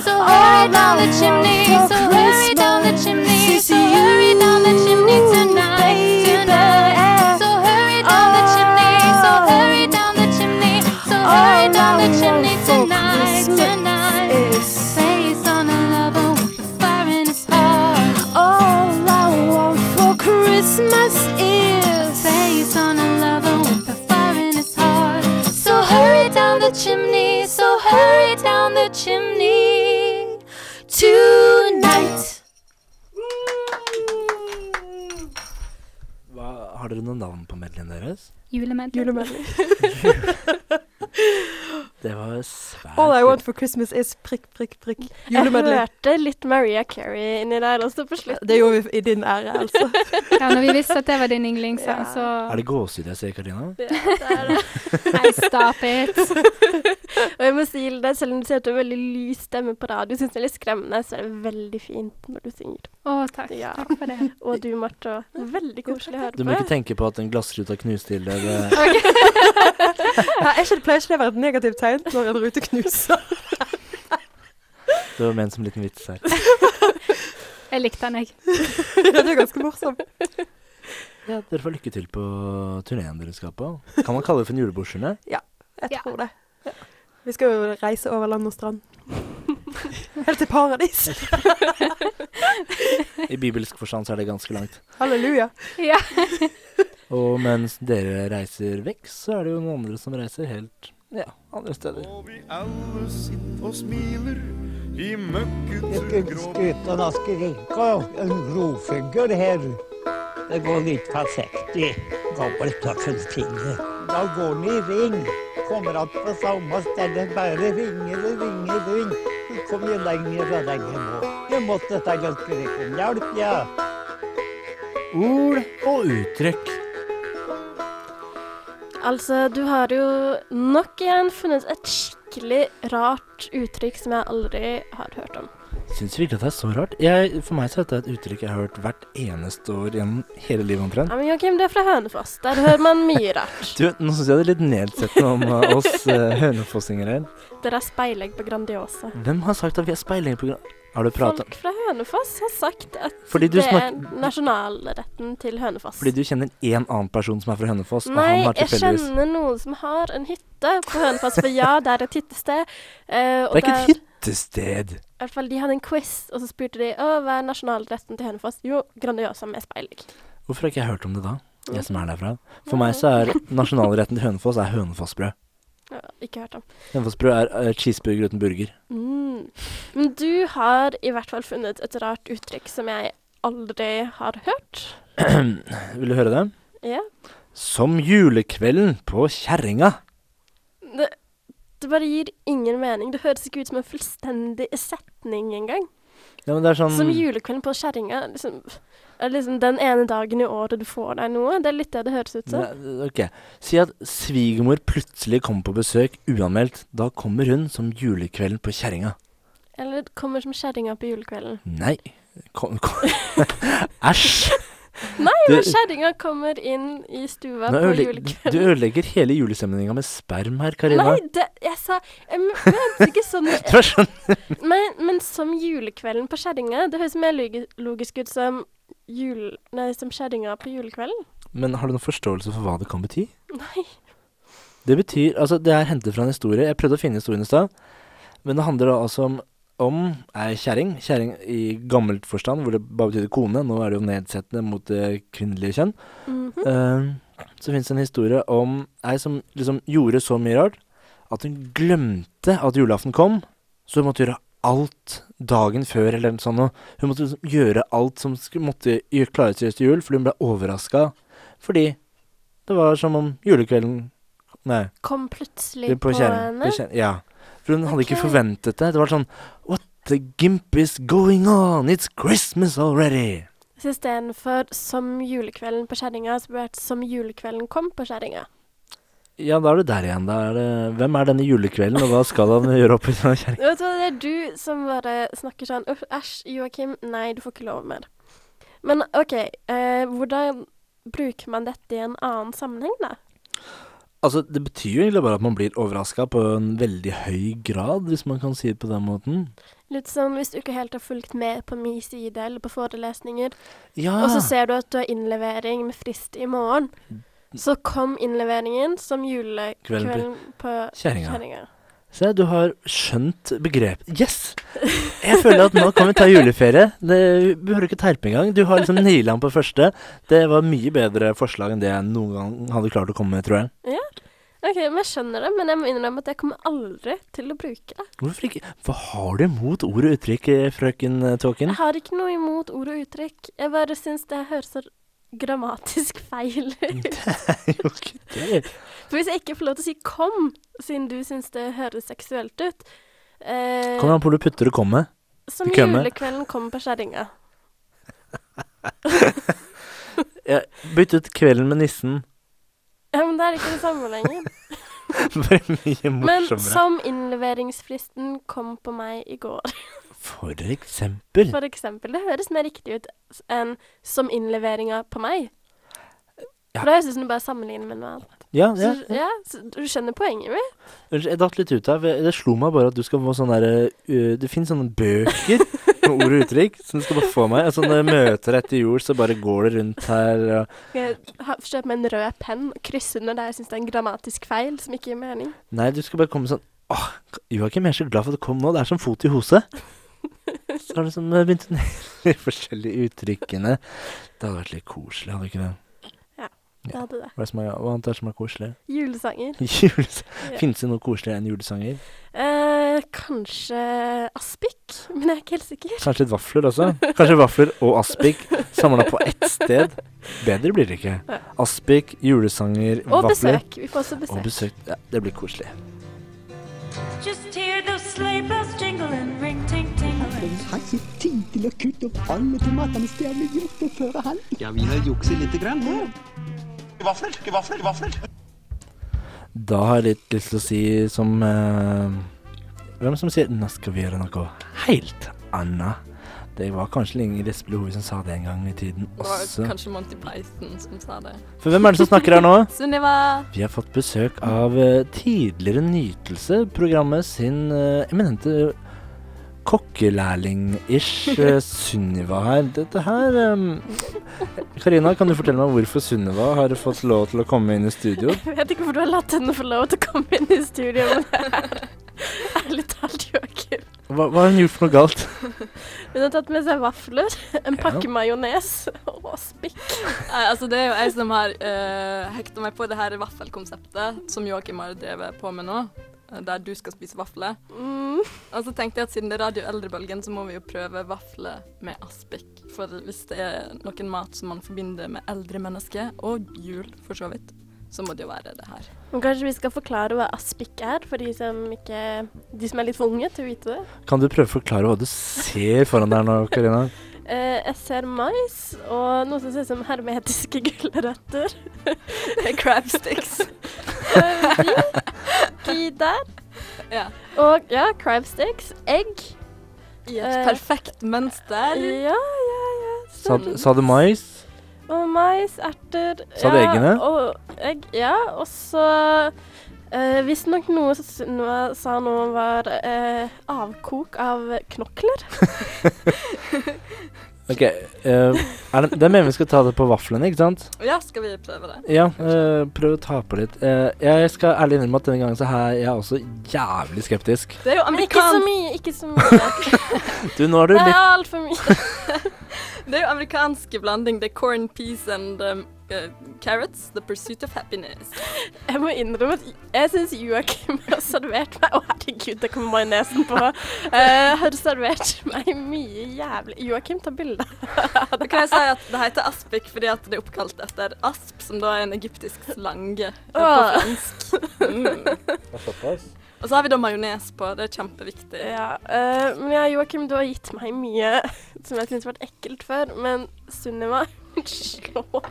[SPEAKER 6] So hurry down the chimney, so hurry down the chimney, so hurry down the chimney tonight, tonight. So hurry down the chimney, so hurry down the chimney, so hurry down the chimney tonight, tonight. Face on a lover with the fire in his heart. All I want for Christmas is face on a lover with the fire in his heart. So hurry down the chimney, so hurry down the chimney tonight.
[SPEAKER 2] Hva, har dere noen navn på medlemmene deres?
[SPEAKER 7] Julemedlem.
[SPEAKER 2] Det var svært
[SPEAKER 4] All I want for Christmas is prikk, prikk, prikk.
[SPEAKER 3] Jeg
[SPEAKER 4] Julemedley.
[SPEAKER 3] hørte litt Maria Carey inni der også på slutten.
[SPEAKER 4] Det gjorde vi i din ære, altså.
[SPEAKER 5] Ja, når vi visste at det var din yndlingssang,
[SPEAKER 3] Ja.
[SPEAKER 5] så
[SPEAKER 2] Er det gåsehud jeg ser, Karina?
[SPEAKER 3] Ja, det er det.
[SPEAKER 5] Nei, stop it.
[SPEAKER 3] Og jeg må si det, selv om du sier at du har veldig lys stemme på radio, syns jeg er litt skremmende, så er det veldig fint når du synger.
[SPEAKER 5] Å, takk.
[SPEAKER 3] Ja.
[SPEAKER 5] Takk for det.
[SPEAKER 3] Og du, Marte, også. veldig koselig å høre
[SPEAKER 2] Du må
[SPEAKER 3] på.
[SPEAKER 2] ikke tenke på at en glassruta knuste til deg. Det-
[SPEAKER 4] Ja, er ikke det pleier ikke det å være et negativt tegn når en rute knuser?
[SPEAKER 2] Det var ment som en liten vits her.
[SPEAKER 5] Jeg likte den, jeg.
[SPEAKER 4] Ja, det er ganske morsomt.
[SPEAKER 2] Ja, dere får lykke til på turneen dere skal på. Kan man kalle det for en julebordsturné?
[SPEAKER 4] Jeg
[SPEAKER 5] Ja.
[SPEAKER 4] tror det. Vi skal jo reise over land og strand. Helt til paradis.
[SPEAKER 2] I bibelsk forstand så er det ganske langt.
[SPEAKER 4] Halleluja.
[SPEAKER 5] Ja.
[SPEAKER 2] Og mens dere reiser vekk, så er det jo noen andre som reiser helt ja, andre steder.
[SPEAKER 8] Og vi alle sitter og smiler i
[SPEAKER 9] Jeg
[SPEAKER 8] møkkete grå
[SPEAKER 9] ønsker ikke at skal ikke en grovfugl her. Det går litt forsiktig. Gamle tøffelfinger. Da går den i ring. Kommer att på samme stedet, bare ringer og ringer og ringer. Så kommer jeg lenger og lenger nå. Jeg måtte ta ganske riktig om hjelp, ja.
[SPEAKER 2] Ord og uttrykk.
[SPEAKER 3] Altså, du har jo nok igjen funnet et skikkelig rart uttrykk som jeg aldri har hørt om.
[SPEAKER 2] Syns virkelig at det er så rart. Jeg, for meg så er dette et uttrykk jeg har hørt hvert eneste år gjennom hele livet omtrent.
[SPEAKER 3] Ja, men Joakim, det er fra Hønefoss. Der hører man mye rart.
[SPEAKER 2] Du, nå syns jeg det er litt nedsettende om eh, oss eh, hønefossinger her.
[SPEAKER 3] Dere har speilegg på Grandiosa.
[SPEAKER 2] Hvem har sagt at vi er speiling på grunn Har du prata
[SPEAKER 3] Folk fra Hønefoss har sagt at
[SPEAKER 2] Fordi du
[SPEAKER 3] det er
[SPEAKER 2] snak-
[SPEAKER 3] nasjonalretten til Hønefoss.
[SPEAKER 2] Fordi du kjenner én annen person som er fra Hønefoss, og
[SPEAKER 3] Nei,
[SPEAKER 2] han har
[SPEAKER 3] jeg
[SPEAKER 2] tilfeldigvis
[SPEAKER 3] kjenner noen som har en hytte på Hønefoss, for ja, det er et hyttested. eh, og
[SPEAKER 2] Det er ikke
[SPEAKER 3] der-
[SPEAKER 2] et hyttested!
[SPEAKER 3] I hvert fall, De hadde en quiz, og så spurte de å, hva er nasjonalretten til Hønefoss. Jo, Grandiosa med speilegg.
[SPEAKER 2] Hvorfor har ikke jeg hørt om det da? Jeg som er derfra. For meg så er nasjonalretten til Hønefoss er hønefossbrød.
[SPEAKER 3] Ja, ikke hørt om.
[SPEAKER 2] Hønefossbrød er eh, cheeseburger uten burger.
[SPEAKER 3] Mm. Men du har i hvert fall funnet et rart uttrykk som jeg aldri har hørt.
[SPEAKER 2] Vil du høre det?
[SPEAKER 3] Ja.
[SPEAKER 2] Som julekvelden på kjerringa.
[SPEAKER 3] Det, det bare gir ingen mening. Det høres ikke ut som en fullstendig setning engang.
[SPEAKER 2] Ja, men det er sånn
[SPEAKER 3] Som julekvelden på kjerringa. Liksom, er det liksom den ene dagen i året du får deg noe. Det er litt det det høres ut som.
[SPEAKER 2] Ne- Ok. Si at svigermor plutselig kommer på besøk uanmeldt. Da kommer hun som julekvelden på kjerringa.
[SPEAKER 3] Eller det kommer som kjerringa på julekvelden.
[SPEAKER 2] Nei. Kom, kom. Æsj!
[SPEAKER 3] Nei,
[SPEAKER 2] Du-
[SPEAKER 3] men kjerringa kommer inn i stua
[SPEAKER 2] Nå
[SPEAKER 3] på
[SPEAKER 2] ødelegger, du
[SPEAKER 3] julekvelden.
[SPEAKER 2] ødelegger hele julestemninga med sperm her, Karina.
[SPEAKER 3] Nei, det, jeg sa eh, jeg mente ikke sånn
[SPEAKER 2] Det var sånn
[SPEAKER 3] men, men som julekvelden på kjerringa. Det høres mer logi- logisk ut som jul... Nei, som kjerringa på julekvelden.
[SPEAKER 2] Men har du noen forståelse for hva det kan bety?
[SPEAKER 3] Nei.
[SPEAKER 2] Det betyr, altså det er hentet fra en historie. Jeg prøvde å finne historien i stad. Men det handler da altså om, om ei kjerring. Kjerring i gammelt forstand, hvor det bare betydde kone. Nå er det jo nedsettende mot det kvinnelige kjønn.
[SPEAKER 3] Mhm.
[SPEAKER 2] Eh, så fins det en historie om ei som liksom gjorde så mye rart at hun glemte at julaften kom. Så hun måtte gjøre alt dagen før eller noe sånt. noe. Hun måtte liksom gjøre alt som sk- måtte gjø- klares til til jul, fordi hun ble overraska. Fordi det var som om julekvelden Nei
[SPEAKER 3] Kom plutselig
[SPEAKER 2] på,
[SPEAKER 3] på,
[SPEAKER 2] kjerring.
[SPEAKER 3] henne.
[SPEAKER 2] På kjerring, Ja. For hun hadde ikke
[SPEAKER 3] Ok.
[SPEAKER 2] forventet det. Det var sånn What the gimp is going on? It's Christmas already!
[SPEAKER 3] Så istedenfor 'Som julekvelden på Kjerringa', så burde det vært 'Som julekvelden kom på Kjerringa'.
[SPEAKER 2] Ja, da er du der igjen. Da er det Hvem er denne julekvelden, og hva skal han gjøre oppi denne kjerringa?
[SPEAKER 3] Vet du hva, det er du som bare snakker sånn «Uff, Æsj, Joakim, nei, du får ikke lov mer. Men OK, eh, hvordan bruker man dette i en annen sammenheng, da?
[SPEAKER 2] Altså, det betyr jo egentlig bare at man blir overraska på en veldig høy grad, hvis man kan si det på den måten.
[SPEAKER 3] Litt som hvis du ikke helt har fulgt med på min side eller på forelesninger,
[SPEAKER 2] Ja,
[SPEAKER 3] og så ser du at du har innlevering med frist i morgen.
[SPEAKER 2] Mm.
[SPEAKER 3] Så kom innleveringen som julekvelden på
[SPEAKER 2] Kjerringa.
[SPEAKER 3] Kjerringa.
[SPEAKER 2] se, du har skjønt begrep. Yes! Jeg føler at nå kan vi ta juleferie. Det vi behøver ikke terpe engang. Du har liksom naila den på første. Det var mye bedre forslag enn det jeg noen gang hadde klart å komme med, tror jeg.
[SPEAKER 3] OK, men jeg skjønner det, men jeg må innrømme at jeg kommer aldri til å bruke det.
[SPEAKER 2] Hvorfor ikke? Hva har du imot ord og uttrykk, eh, frøken eh, Tåken?
[SPEAKER 3] Jeg har ikke noe imot ord og uttrykk. Jeg bare syns det høres så grammatisk feil
[SPEAKER 2] Mm.
[SPEAKER 3] ut.
[SPEAKER 2] Jo, ikke det.
[SPEAKER 3] For hvis jeg ikke får lov til å si 'kom', siden du syns det høres seksuelt ut eh,
[SPEAKER 2] Kommer an på hvor du putter det kommer.
[SPEAKER 3] Som
[SPEAKER 2] kømme.
[SPEAKER 3] julekvelden kommer på kjerringa.
[SPEAKER 2] Ja, Bytt ut 'Kvelden med nissen'.
[SPEAKER 3] Ja, men det er ikke det samme lenger.
[SPEAKER 2] Bare mye
[SPEAKER 3] Men
[SPEAKER 2] morsommere.
[SPEAKER 3] som innleveringsfristen kom på meg i går,
[SPEAKER 2] For eksempel.
[SPEAKER 3] for eksempel. Det høres mer riktig ut enn som innleveringa på meg.
[SPEAKER 2] Ja.
[SPEAKER 3] For da høres det ut som du bare sammenligner med noe annet.
[SPEAKER 2] Ja,
[SPEAKER 3] Så,
[SPEAKER 2] ja.
[SPEAKER 3] ja, så du skjønner poenget mitt?
[SPEAKER 2] Unnskyld, jeg datt litt ut her. for jeg- Det slo meg bare at du skal få sånn derre uh, Det fins sånne bøker med ord og uttrykk som du skal bare få meg. Altså, når jeg møter etter jul, så bare går det rundt her og
[SPEAKER 3] Skal jeg ha- Kjøp meg en rød penn og krysse under der jeg syns det er en grammatisk feil som ikke gir mening.
[SPEAKER 2] Nei, du skal bare komme sånn Åh, Joakim, jeg er så glad for at du kom nå. Det er som fot i hose. Så har du sånn eh, begynt å nevne de forskjellige uttrykkene. Det hadde vært litt koselig, hadde ikke det?
[SPEAKER 3] Det
[SPEAKER 2] Ja.
[SPEAKER 3] hadde det.
[SPEAKER 2] Hva er det som er, hva annet er det som er koselig?
[SPEAKER 3] Julesanger.
[SPEAKER 2] Jules.
[SPEAKER 3] Ja.
[SPEAKER 2] Fins det noe koseligere enn julesanger?
[SPEAKER 3] Eh, kanskje aspik, men jeg er ikke helt sikker.
[SPEAKER 2] Kanskje litt vafler også? Kanskje vafler og aspik samla på ett sted? Bedre blir det ikke. Aspik, julesanger,
[SPEAKER 3] Og
[SPEAKER 2] vafler.
[SPEAKER 3] besøk. Vi får også besøk.
[SPEAKER 2] Og besøk. Ja, det blir koselig.
[SPEAKER 5] Just hear those sleigh bells jingling, ring ting tingling.
[SPEAKER 10] Har ikke tid til å kutte opp alle tomatene stjernene gjort og føre halv. Ja, vi har jukset lite grann her.
[SPEAKER 8] Vafler, vafler, vafler.
[SPEAKER 2] Da har jeg litt lyst til å si som eh, Hvem som sier 'nå skal vi gjøre noe helt anna'? Det var kanskje Ingrid Espelid Hove som sa det en gang i tiden
[SPEAKER 11] Det var
[SPEAKER 2] også.
[SPEAKER 11] kanskje Monty Python som sa det.
[SPEAKER 2] For hvem er det som snakker her nå?
[SPEAKER 11] Sunniva!
[SPEAKER 2] Vi har fått besøk av eh, tidligere Nytelse, programmet sin eh, eminente kokkelærling-ish eh, Sunniva her. Dette her eh, Karina, kan du fortelle meg hvorfor Sunniva har fått lov til å komme inn i studio?
[SPEAKER 3] Jeg vet ikke hvorfor du har latt henne få lov til å komme inn i studio, men det er ærlig talt Joakim.
[SPEAKER 2] Hva, hva har hun gjort for noe galt?
[SPEAKER 3] Hun har tatt med seg vafler, en
[SPEAKER 2] Ja.
[SPEAKER 3] pakke majones og aspik.
[SPEAKER 11] Nei, altså det er jo jeg som har uh, hekta meg på det her vaffelkonseptet som Joakim har drevet på med nå, eh, der du skal spise vafler.
[SPEAKER 3] Mm.
[SPEAKER 11] Og så tenkte jeg at siden det er Radio Eldrebølgen, så må vi jo prøve vafler med aspik. For hvis det er noen mat som man forbinder med eldre mennesker, og jul for så vidt, så må det jo være det her.
[SPEAKER 3] Men kanskje vi skal forklare hva aspik er, for de som, ikke, de som er litt for unge til å vite det.
[SPEAKER 2] Kan du prøve å forklare hva du ser foran deg nå, Karina?
[SPEAKER 3] Eh, jeg ser mais og noe som ser ut som hermetiske gulrøtter.
[SPEAKER 11] Crab sticks.
[SPEAKER 3] Eh, de- de der.
[SPEAKER 11] ja.
[SPEAKER 3] Og ja, crab sticks. Egg.
[SPEAKER 11] I
[SPEAKER 3] Eh,
[SPEAKER 11] et perfekt mønster.
[SPEAKER 3] Ja, ja, ja. Sånn.
[SPEAKER 2] Sa, sa du mais?
[SPEAKER 3] Og mais, erter
[SPEAKER 2] Sa du
[SPEAKER 3] ja,
[SPEAKER 2] eggene?
[SPEAKER 3] Og egg, ja. Og så eh, Visstnok noe som Sunniva sa nå var eh, avkok av knokler.
[SPEAKER 2] Ok, eh, er det, det mener vi skal ta det på vaflene, ikke sant?
[SPEAKER 11] Ja, skal vi prøve det?
[SPEAKER 2] Ja, eh, prøv å ta på litt. Eh, jeg skal ærlig innrømme at denne gangen så er jeg også jævlig skeptisk.
[SPEAKER 11] Det er jo
[SPEAKER 3] Men ikke så
[SPEAKER 11] amerikansk,
[SPEAKER 3] mye. Ikke så mye.
[SPEAKER 2] Du, nå har du
[SPEAKER 3] Det er
[SPEAKER 2] litt
[SPEAKER 3] altfor mye.
[SPEAKER 11] det er jo amerikansk blanding. Det er corn, peas and um, eh, carrots. The pursuit of happiness.
[SPEAKER 3] Jeg må innrømme at jeg syns Joakim har servert meg Å, herregud, det kommer majonesen på. Eh, har servert meg mye jævlig Joakim, ta bilde.
[SPEAKER 11] Da kan jeg si at det heter aspik fordi at det er oppkalt etter asp, som da er en egyptisk slange eh, på
[SPEAKER 3] Åh.
[SPEAKER 11] fransk. Mm.
[SPEAKER 2] Såpass?
[SPEAKER 11] Og så har vi da majones på. Det er kjempeviktig.
[SPEAKER 3] Ja, eh, men ja, Joakim, du har gitt meg mye som jeg syntes har vært ekkelt før, men Sunniva slår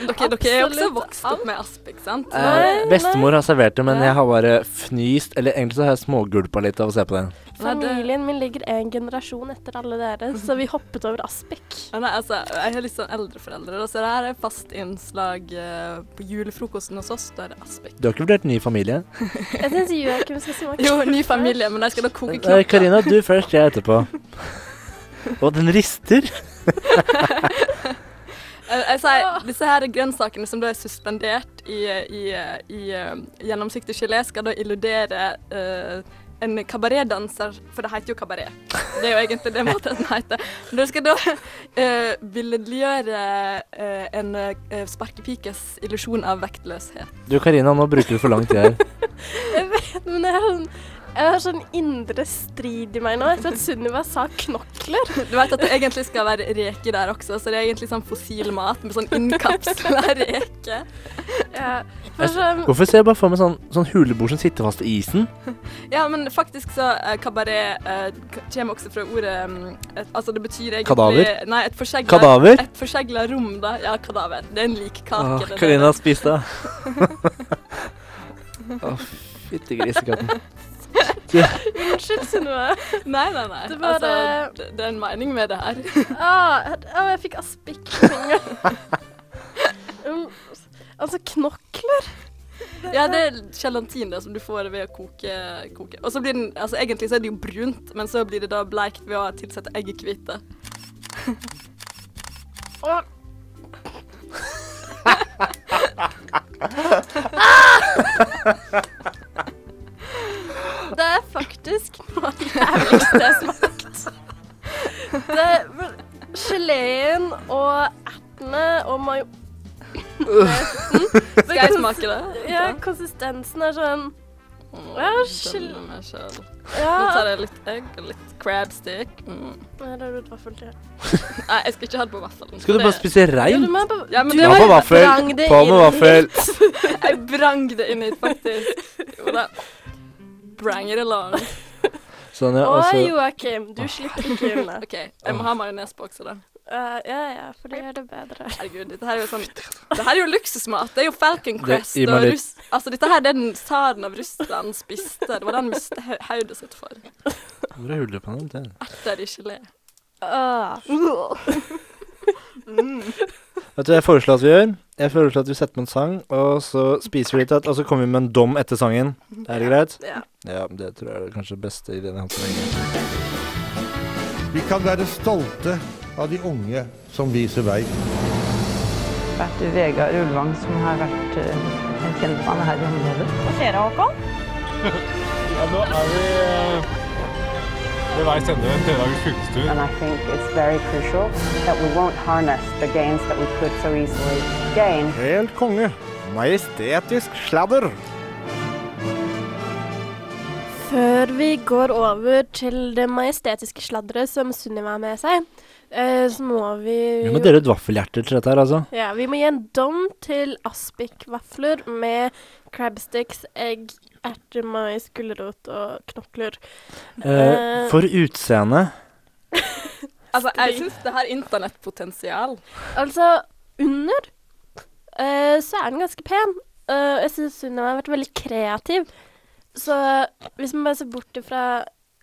[SPEAKER 11] Men Dere, dere er jo også
[SPEAKER 3] absolutt
[SPEAKER 11] vokst opp med aspik, sant?
[SPEAKER 2] Eh, bestemor har servert det, men jeg har bare fnyst. Eller egentlig så har jeg smågulpa litt av å se på den.
[SPEAKER 3] Familien min ligger en generasjon etter alle dere, så vi hoppet over aspik.
[SPEAKER 11] Ja, Nei, altså, jeg har litt sånn eldre foreldre, da, så det her er fast innslag eh, på julefrokosten hos oss. Da er det aspik.
[SPEAKER 2] Du har ikke vurdert ny familie?
[SPEAKER 3] Jeg syns Joakim skal smake.
[SPEAKER 11] Jo, ny familie, men jeg skal da koke
[SPEAKER 2] Eh,
[SPEAKER 11] knokler.
[SPEAKER 2] Karina, du først, jeg etterpå. Og den rister.
[SPEAKER 11] Eh, Jeg sier, disse her grønnsakene som da er suspendert i, i, i eh, gjennomsiktig gelé, skal da illudere eh, en kabaretdanser, for det heter jo kabaret. Det er jo egentlig det måten den heter. Men det skal da eh, billedliggjøre eh, en eh, sparkepikes illusjon av vektløshet.
[SPEAKER 2] Du Karina, nå bruker du for lang tid her.
[SPEAKER 3] Jeg vet, men jeg har sånn, jeg har sånn indre strid i meg nå etter at Sunniva sa knokler.
[SPEAKER 11] Du vet at det egentlig skal være reker der også, så det er egentlig sånn fossil mat med sånn innkapsla reker.
[SPEAKER 3] Ja, for sånn,
[SPEAKER 2] Hvorfor ser jeg bare for meg sånn, sånn hulebord som sitter fast i isen?
[SPEAKER 11] Ja, men faktisk så eh, kabaret eh, k- kommer også fra ordet mm, et, Altså det betyr egentlig
[SPEAKER 2] Kadaver?
[SPEAKER 11] Nei, et forsegla
[SPEAKER 2] Kadaver?
[SPEAKER 11] Et forsegla rom, da. Ja, kadaver. Det er en likkake.
[SPEAKER 2] Åh,
[SPEAKER 11] det der.
[SPEAKER 2] Karina spiste Å, fytti grisekatten.
[SPEAKER 3] unnskyld, Sunniva.
[SPEAKER 11] Nei, nei, nei.
[SPEAKER 3] Det var,
[SPEAKER 11] altså,
[SPEAKER 3] eh,
[SPEAKER 11] det, det er en mening med det her.
[SPEAKER 3] Ah, ah, jeg fikk aspik på en gang. Um, altså, knokler
[SPEAKER 11] Ja, det er gelatin da, som du får ved å koke. koke. Og så blir den Altså egentlig så er det jo brunt, men så blir det da bleikt ved å tilsette eggehvite.
[SPEAKER 3] Åh. Det er faktisk noe av det jævligste jeg har smakt. Det er vel- Geleen og ertene og majo...
[SPEAKER 11] Skal jeg smake det?
[SPEAKER 3] Ja, konsistensen er sånn
[SPEAKER 11] Mm,
[SPEAKER 3] Ja,
[SPEAKER 11] skjønner meg selv. Nå
[SPEAKER 3] Ja.
[SPEAKER 11] tar jeg litt egg og litt crab stick. Mm.
[SPEAKER 3] Nei, det er rødt vaffel til.
[SPEAKER 11] Nei, jeg skal ikke ha det på vaffelen.
[SPEAKER 2] Skal du
[SPEAKER 11] Det-
[SPEAKER 2] bare spise
[SPEAKER 3] Ja,
[SPEAKER 2] rein?
[SPEAKER 3] du må på-
[SPEAKER 11] Ja, men
[SPEAKER 3] du
[SPEAKER 11] det
[SPEAKER 2] Ja,
[SPEAKER 11] var
[SPEAKER 2] på
[SPEAKER 11] jo
[SPEAKER 2] vaffel.
[SPEAKER 3] vrang det
[SPEAKER 2] På
[SPEAKER 3] inn
[SPEAKER 2] med vaffel.
[SPEAKER 11] Jeg brang det inn hit, faktisk. Jo da. Brang it along.
[SPEAKER 2] Sånn, ja. Og
[SPEAKER 3] Å,
[SPEAKER 2] så
[SPEAKER 3] Joakim, du slipper ikke unna.
[SPEAKER 11] OK, jeg må ha majones på også, da.
[SPEAKER 3] Eh, ja, ja, for det gjør det bedre.
[SPEAKER 11] Herregud, dette her er jo sånn Det her er jo luksusmat. Det er jo Falcon
[SPEAKER 2] Det-
[SPEAKER 11] Crest
[SPEAKER 2] gi meg
[SPEAKER 11] og
[SPEAKER 2] litt.
[SPEAKER 11] russ... Altså, dette her det er den tsaren av Russland spiste. Det var det han mistet hau- hodet sitt for.
[SPEAKER 2] Hvor er hullet på den? Det-
[SPEAKER 11] Erter i gelé.
[SPEAKER 3] Ah.
[SPEAKER 12] Mm.
[SPEAKER 2] Vet du hva jeg foreslår at vi gjør? Jeg foreslår at vi setter på en sang, og så spiser vi litt, og så kommer vi med en dom etter sangen. Er det greit?
[SPEAKER 3] Ja.
[SPEAKER 2] Ja, det tror jeg er kanskje det beste ideen jeg har hatt så lenge.
[SPEAKER 8] Vi kan være stolte av de unge som viser vei.
[SPEAKER 12] vært Vegard Ulvang som har vært eh, en kjentmann her i området. Hva skjer da, Håkon?
[SPEAKER 13] Ja, nå er vi eh, ved veis ende. En tredagers fylkestur.
[SPEAKER 14] And I think it's very crucial that we won't harness the gains that we could so easily gain.
[SPEAKER 8] Helt konge. Majestetisk sladder.
[SPEAKER 3] Før vi går over til det majestetiske sladderet som Sunniva har med seg, eh, så må vi
[SPEAKER 2] Vi må dele et vaffelhjerte til dette her, altså.
[SPEAKER 3] Ja, vi må gi en dom til aspikvafler med crabsticks, egg, erter, mais, gulrot og knokler.
[SPEAKER 2] Eh, for utseende
[SPEAKER 11] Altså, jeg syns det har internettpotensial.
[SPEAKER 3] Altså, under eh, så er den ganske pen. Eh, og jeg syns Sunniva har vært veldig kreativ. Så hvis man bare ser bort ifra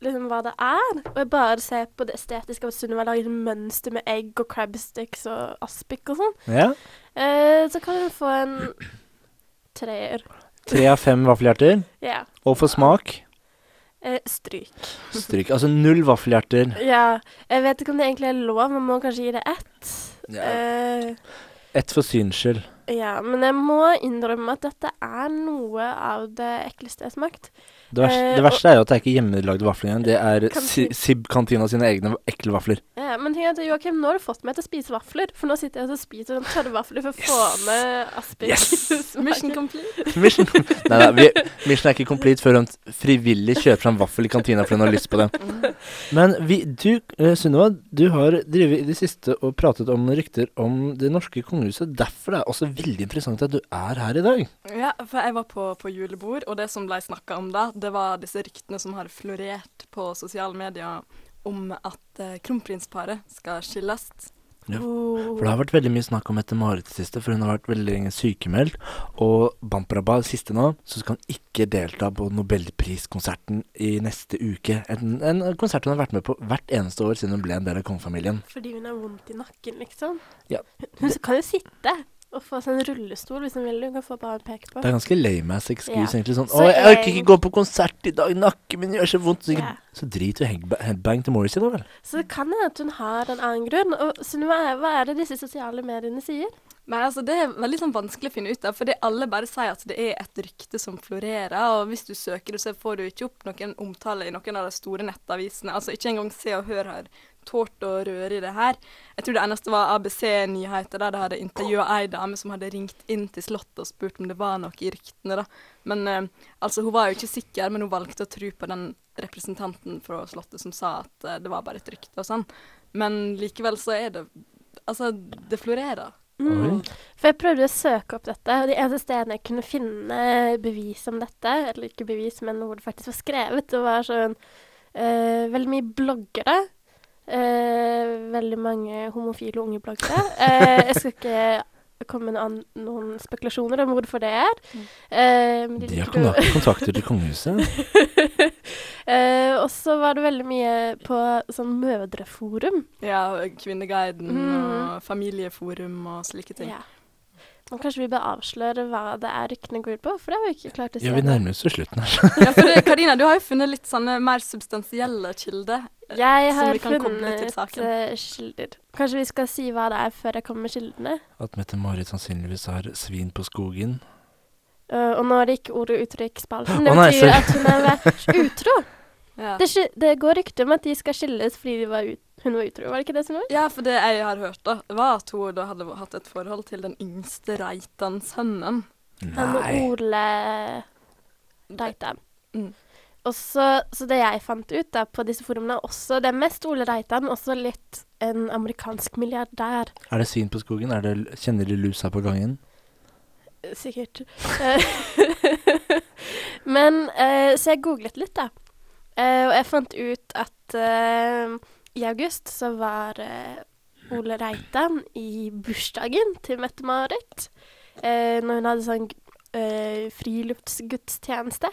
[SPEAKER 3] liksom, hva det er, og jeg bare ser på det estetiske av at Sunniva lager mønster med egg og crabsticks og aspik og sånn,
[SPEAKER 2] Ja.
[SPEAKER 3] eh, så kan hun få en treer.
[SPEAKER 2] Tre av fem vaffelhjerter.
[SPEAKER 3] Ja.
[SPEAKER 2] Og for smak
[SPEAKER 3] Eh, stryk.
[SPEAKER 2] stryk. Altså null vaffelhjerter.
[SPEAKER 3] Ja. Jeg vet ikke om det egentlig er lov, man må kanskje gi det ett.
[SPEAKER 2] Ja.
[SPEAKER 3] Eh,
[SPEAKER 2] Ett for syns skyld.
[SPEAKER 3] Ja, men jeg må innrømme at dette er noe av det ekleste jeg har smakt.
[SPEAKER 2] Det verste,
[SPEAKER 3] Eh,
[SPEAKER 2] det verste er jo at det er ikke hjemmelagde vafler engang. Det er
[SPEAKER 3] Kantin-
[SPEAKER 2] Si- Sib Kantina sine egne ekle vafler.
[SPEAKER 3] og, ja, Eh, Men ting er at Joakim, nå har du fått meg til å spise vafler. For nå sitter jeg og spiser sånn tørre vafler for å få med asperges.
[SPEAKER 11] Mission complete.
[SPEAKER 2] Mission, nei, nei, vi, mission er ikke complete før hun frivillig kjøper seg en vaffel i kantina fordi hun har lyst på det.
[SPEAKER 12] Mm.
[SPEAKER 2] Men vi, du, eh, Sunniva, du har drevet i det siste og pratet om rykter om det norske kongehuset. Derfor er det også veldig interessant at du er her i dag.
[SPEAKER 11] Ja, for jeg var på, på julebord, og det som ble snakka om da, det var disse ryktene som har florert på sosiale medier om at eh, kronprinsparet skal skilles.
[SPEAKER 2] Ja. For det har vært veldig mye snakk om Mette-Marit det siste, for hun har vært veldig lenge sykemeldt. Og Bamparaba siste nå, så skal hun ikke delta på nobelpriskonserten i neste uke. En, en konsert hun har vært med på hvert eneste år siden hun ble en del av kongefamilien.
[SPEAKER 3] Fordi hun har vondt i nakken, liksom.
[SPEAKER 2] Ja.
[SPEAKER 3] Hun kan jo sitte og få seg en rullestol hvis hun vil. Hun kan få bare en peke på.
[SPEAKER 2] Det er ganske lame-ass excuse,
[SPEAKER 3] Ja.
[SPEAKER 2] egentlig. Sånn
[SPEAKER 3] Så
[SPEAKER 2] 'Å, jeg orker
[SPEAKER 3] jeg-
[SPEAKER 2] ikke gå på konsert i dag, nakken min gjør så vondt.' Så,
[SPEAKER 3] Ja.
[SPEAKER 2] så drit jo headba- headbang til Morrissey, da vel.
[SPEAKER 3] Så det kan hende at hun har en annen grunn. Og Sunniva, hva er det disse sosiale mediene sier?
[SPEAKER 11] Nei, altså Det er veldig sånn vanskelig å finne ut av, fordi alle bare sier at det er et rykte som florerer. og Hvis du søker det, så får du ikke opp noen omtale i noen av de store nettavisene. Altså Ikke engang Se og Hør har tålt å røre i det her. Jeg tror det eneste var ABC Nyheter, der de hadde intervjua ei dame som hadde ringt inn til Slottet og spurt om det var noe i ryktene. da. Men eh, altså, Hun var jo ikke sikker, men hun valgte å tro på den representanten fra Slottet som sa at eh, det var bare et rykte og sånn. Men likevel så er det Altså, det florerer.
[SPEAKER 3] Mm. For jeg prøvde å søke opp dette, og de eneste stedene jeg kunne finne bevis om dette, eller ikke bevis, men hvor det faktisk var skrevet, det var sånn eh, Veldig mye bloggere. eh, veldig mange homofile unge bloggere. Eh, jeg skal ikke komme med noen, an- noen spekulasjoner om hvorfor det er.
[SPEAKER 2] Mm.
[SPEAKER 3] Eh, men
[SPEAKER 2] De har
[SPEAKER 3] liker jo-
[SPEAKER 2] konak- kontakter til kongehuset.
[SPEAKER 3] Eh, og så var det veldig mye på sånn mødreforum.
[SPEAKER 11] Ja, og Kvinneguiden
[SPEAKER 3] Mm.
[SPEAKER 11] og Familieforum og slike ting.
[SPEAKER 3] Ja. Men kanskje vi bør avsløre hva det er ryktene går ut på, for det har vi ikke klart å si.
[SPEAKER 2] Ja, vi
[SPEAKER 3] ennå.
[SPEAKER 2] nærmer oss jo slutten her.
[SPEAKER 11] Ja, for det, Karina, du har jo funnet litt sånne mer substansielle kilder. eh,
[SPEAKER 3] Jeg
[SPEAKER 11] som
[SPEAKER 3] har
[SPEAKER 11] vi kan koble til
[SPEAKER 3] funnet
[SPEAKER 11] saken.
[SPEAKER 3] eh, kilder. Kanskje vi skal si hva det er før jeg kommer med kildene?
[SPEAKER 2] At Mette-Marit sannsynligvis har svin på skogen.
[SPEAKER 3] Eh, og nå er det ikke ord- og uttrykksspalten. Det
[SPEAKER 2] Å, nei,
[SPEAKER 3] betyr
[SPEAKER 2] sorry.
[SPEAKER 3] at hun har vært utro.
[SPEAKER 11] Ja.
[SPEAKER 3] Det, sky- det går rykte om at de skal skilles fordi de var ut, hun var utro. Var det ikke det som var?
[SPEAKER 11] Ja, for det jeg har hørt, da, var at hun da hadde hatt et forhold til den yngste Reitan-sønnen.
[SPEAKER 3] Han med Ole Reitan.
[SPEAKER 11] Mm.
[SPEAKER 3] Og så, så det jeg fant ut da, på disse forumene, er også det er mest Ole Reitan, også litt en amerikansk milliardær.
[SPEAKER 2] Er det svin på skogen? Er det, kjenner de lusa på gangen?
[SPEAKER 3] Sikkert. Eh, Men eh, Så jeg googlet litt, da. Eh, og jeg fant ut at eh, i august så var eh, Ole Reitan i bursdagen til Mette-Marit. eh, når hun hadde sånn eh, friluftsgudstjeneste.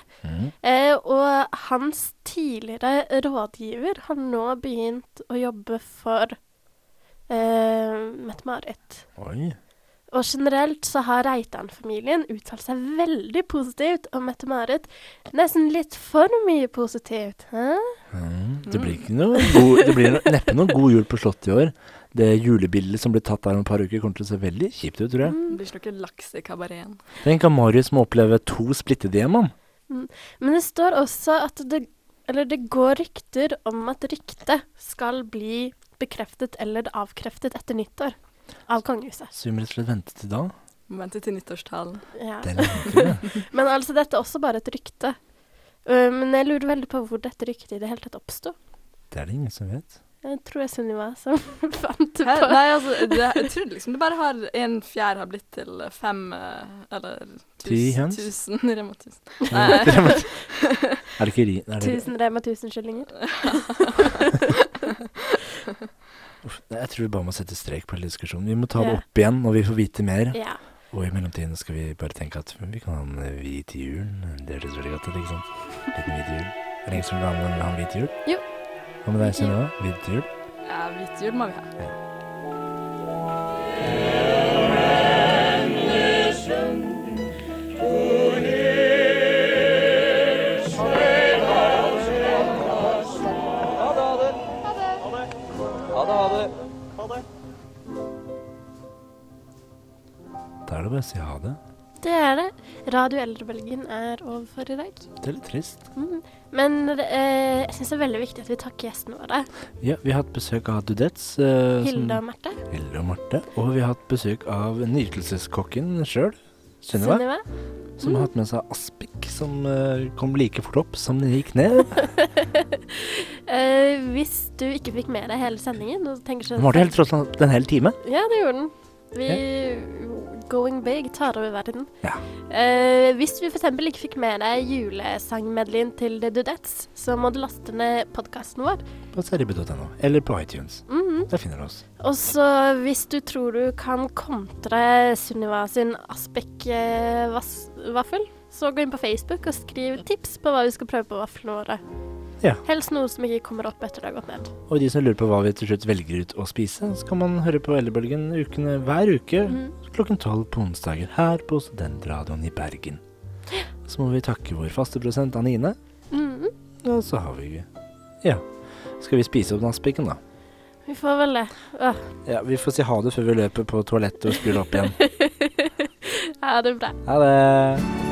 [SPEAKER 3] Eh, og hans tidligere rådgiver har nå begynt å jobbe for eh, Mette-Marit.
[SPEAKER 2] Oi.
[SPEAKER 3] Og generelt så har Reitan-familien uttalt seg veldig positivt om Mette-Marit. Nesten litt for mye positivt. Hæ?
[SPEAKER 2] Det blir, ikke noe god, det blir no- neppe noen god jul på Slottet i år. Det julebildet som blir tatt der om et par uker, kommer til å se veldig kjipt ut, tror jeg.
[SPEAKER 11] Det blir ikke noe laks i kabareten.
[SPEAKER 2] Tenk at Marius må oppleve to splittede hjem, han.
[SPEAKER 3] Mm. Men det står også at det Eller det går rykter om at ryktet skal bli bekreftet eller avkreftet etter nyttår av kongehuset.
[SPEAKER 2] Så vi må rett og slett vente til da.
[SPEAKER 11] Må vente til nyttårstalen.
[SPEAKER 3] Ja.
[SPEAKER 2] Det er lenge til,
[SPEAKER 3] Men altså, dette er også bare et rykte. Uh, men jeg lurer veldig på hvor dette ryktet i det hele tatt oppsto.
[SPEAKER 2] Det er det ingen som vet.
[SPEAKER 3] Jeg tror det er Sunniva som fant det
[SPEAKER 11] Hæ?
[SPEAKER 3] på.
[SPEAKER 11] Nei, altså, det, jeg tror liksom det bare har en fjær har blitt til fem eh, eller
[SPEAKER 2] Ti
[SPEAKER 11] tusen,
[SPEAKER 2] høns?
[SPEAKER 11] tusen Rema 1000.
[SPEAKER 2] Ja, Rema 1000. Er det ikke ri- er det-
[SPEAKER 3] Tusen Rema 1000-kyllinger.
[SPEAKER 2] Uff, nei, jeg tror vi bare må sette strek på hele diskusjonen. Vi må ta
[SPEAKER 3] Ja.
[SPEAKER 2] det opp igjen når vi får vite mer.
[SPEAKER 3] Ja.
[SPEAKER 2] Og i mellomtiden skal vi bare tenke at vi kan ha en eh, hvit jul. Det høres veldig godt ut, ikke sant? Liten hvit jul. Er det ingen som vil ha en- ha en hvit jul?
[SPEAKER 3] Jo.
[SPEAKER 2] Hva med deg, Synnøve? Hvit jul?
[SPEAKER 11] Ja, hvit jul må vi ha.
[SPEAKER 2] Da er det bare å si ha det.
[SPEAKER 3] Det er det. Radio Eldrebølgen er over for i dag.
[SPEAKER 2] Det er litt trist.
[SPEAKER 3] Mm. Men eh, jeg syns det er veldig viktig at vi takker gjestene våre.
[SPEAKER 2] Ja, vi har hatt besøk av Dudettes. eh, som-
[SPEAKER 3] Hilde og Marte.
[SPEAKER 2] Hilde og Marte. Og vi har hatt besøk av nytelseskokken sjøl, Sunniva. Som har hatt med seg aspik, som eh, kom like fort opp som den gikk ned.
[SPEAKER 3] Eh, hvis du ikke fikk med deg hele sendingen og tenker sånn
[SPEAKER 2] Den varte helt tross alt en hel time.
[SPEAKER 3] Ja, det gjorde den. Vi Going big tar over verden.
[SPEAKER 2] Ja.
[SPEAKER 3] Eh, hvis du f.eks. ikke fikk med deg julesangmedleyen til The Dudettes, så må du laste ned podkasten vår.
[SPEAKER 2] På seribe.no, eller på iTunes.
[SPEAKER 3] Mhm.
[SPEAKER 2] Der finner du oss.
[SPEAKER 3] Og så hvis du tror du kan kontre Sunniva sin Aspek-vaffel, så gå inn på Facebook og skriv tips på hva vi skal prøve på vaflene våre.
[SPEAKER 2] Ja.
[SPEAKER 3] Helst noe som ikke kommer opp etter det har gått ned.
[SPEAKER 2] Og de som lurer på hva vi til slutt velger ut å spise, så kan man høre på Eldrebølgen ukene hver uke
[SPEAKER 3] Mm.
[SPEAKER 2] klokken tolv på onsdager her på Studentradioen i Bergen. Så må vi takke vår faste prosent Anine.
[SPEAKER 3] Mhm.
[SPEAKER 2] Og så har vi Ja. Skal vi spise opp den aspiken, da?
[SPEAKER 3] Vi får vel det. Åh,
[SPEAKER 2] Ja, Vi får si ha det før vi løper på toalettet og skrur det opp igjen.
[SPEAKER 3] ha det bra.
[SPEAKER 2] Ha det.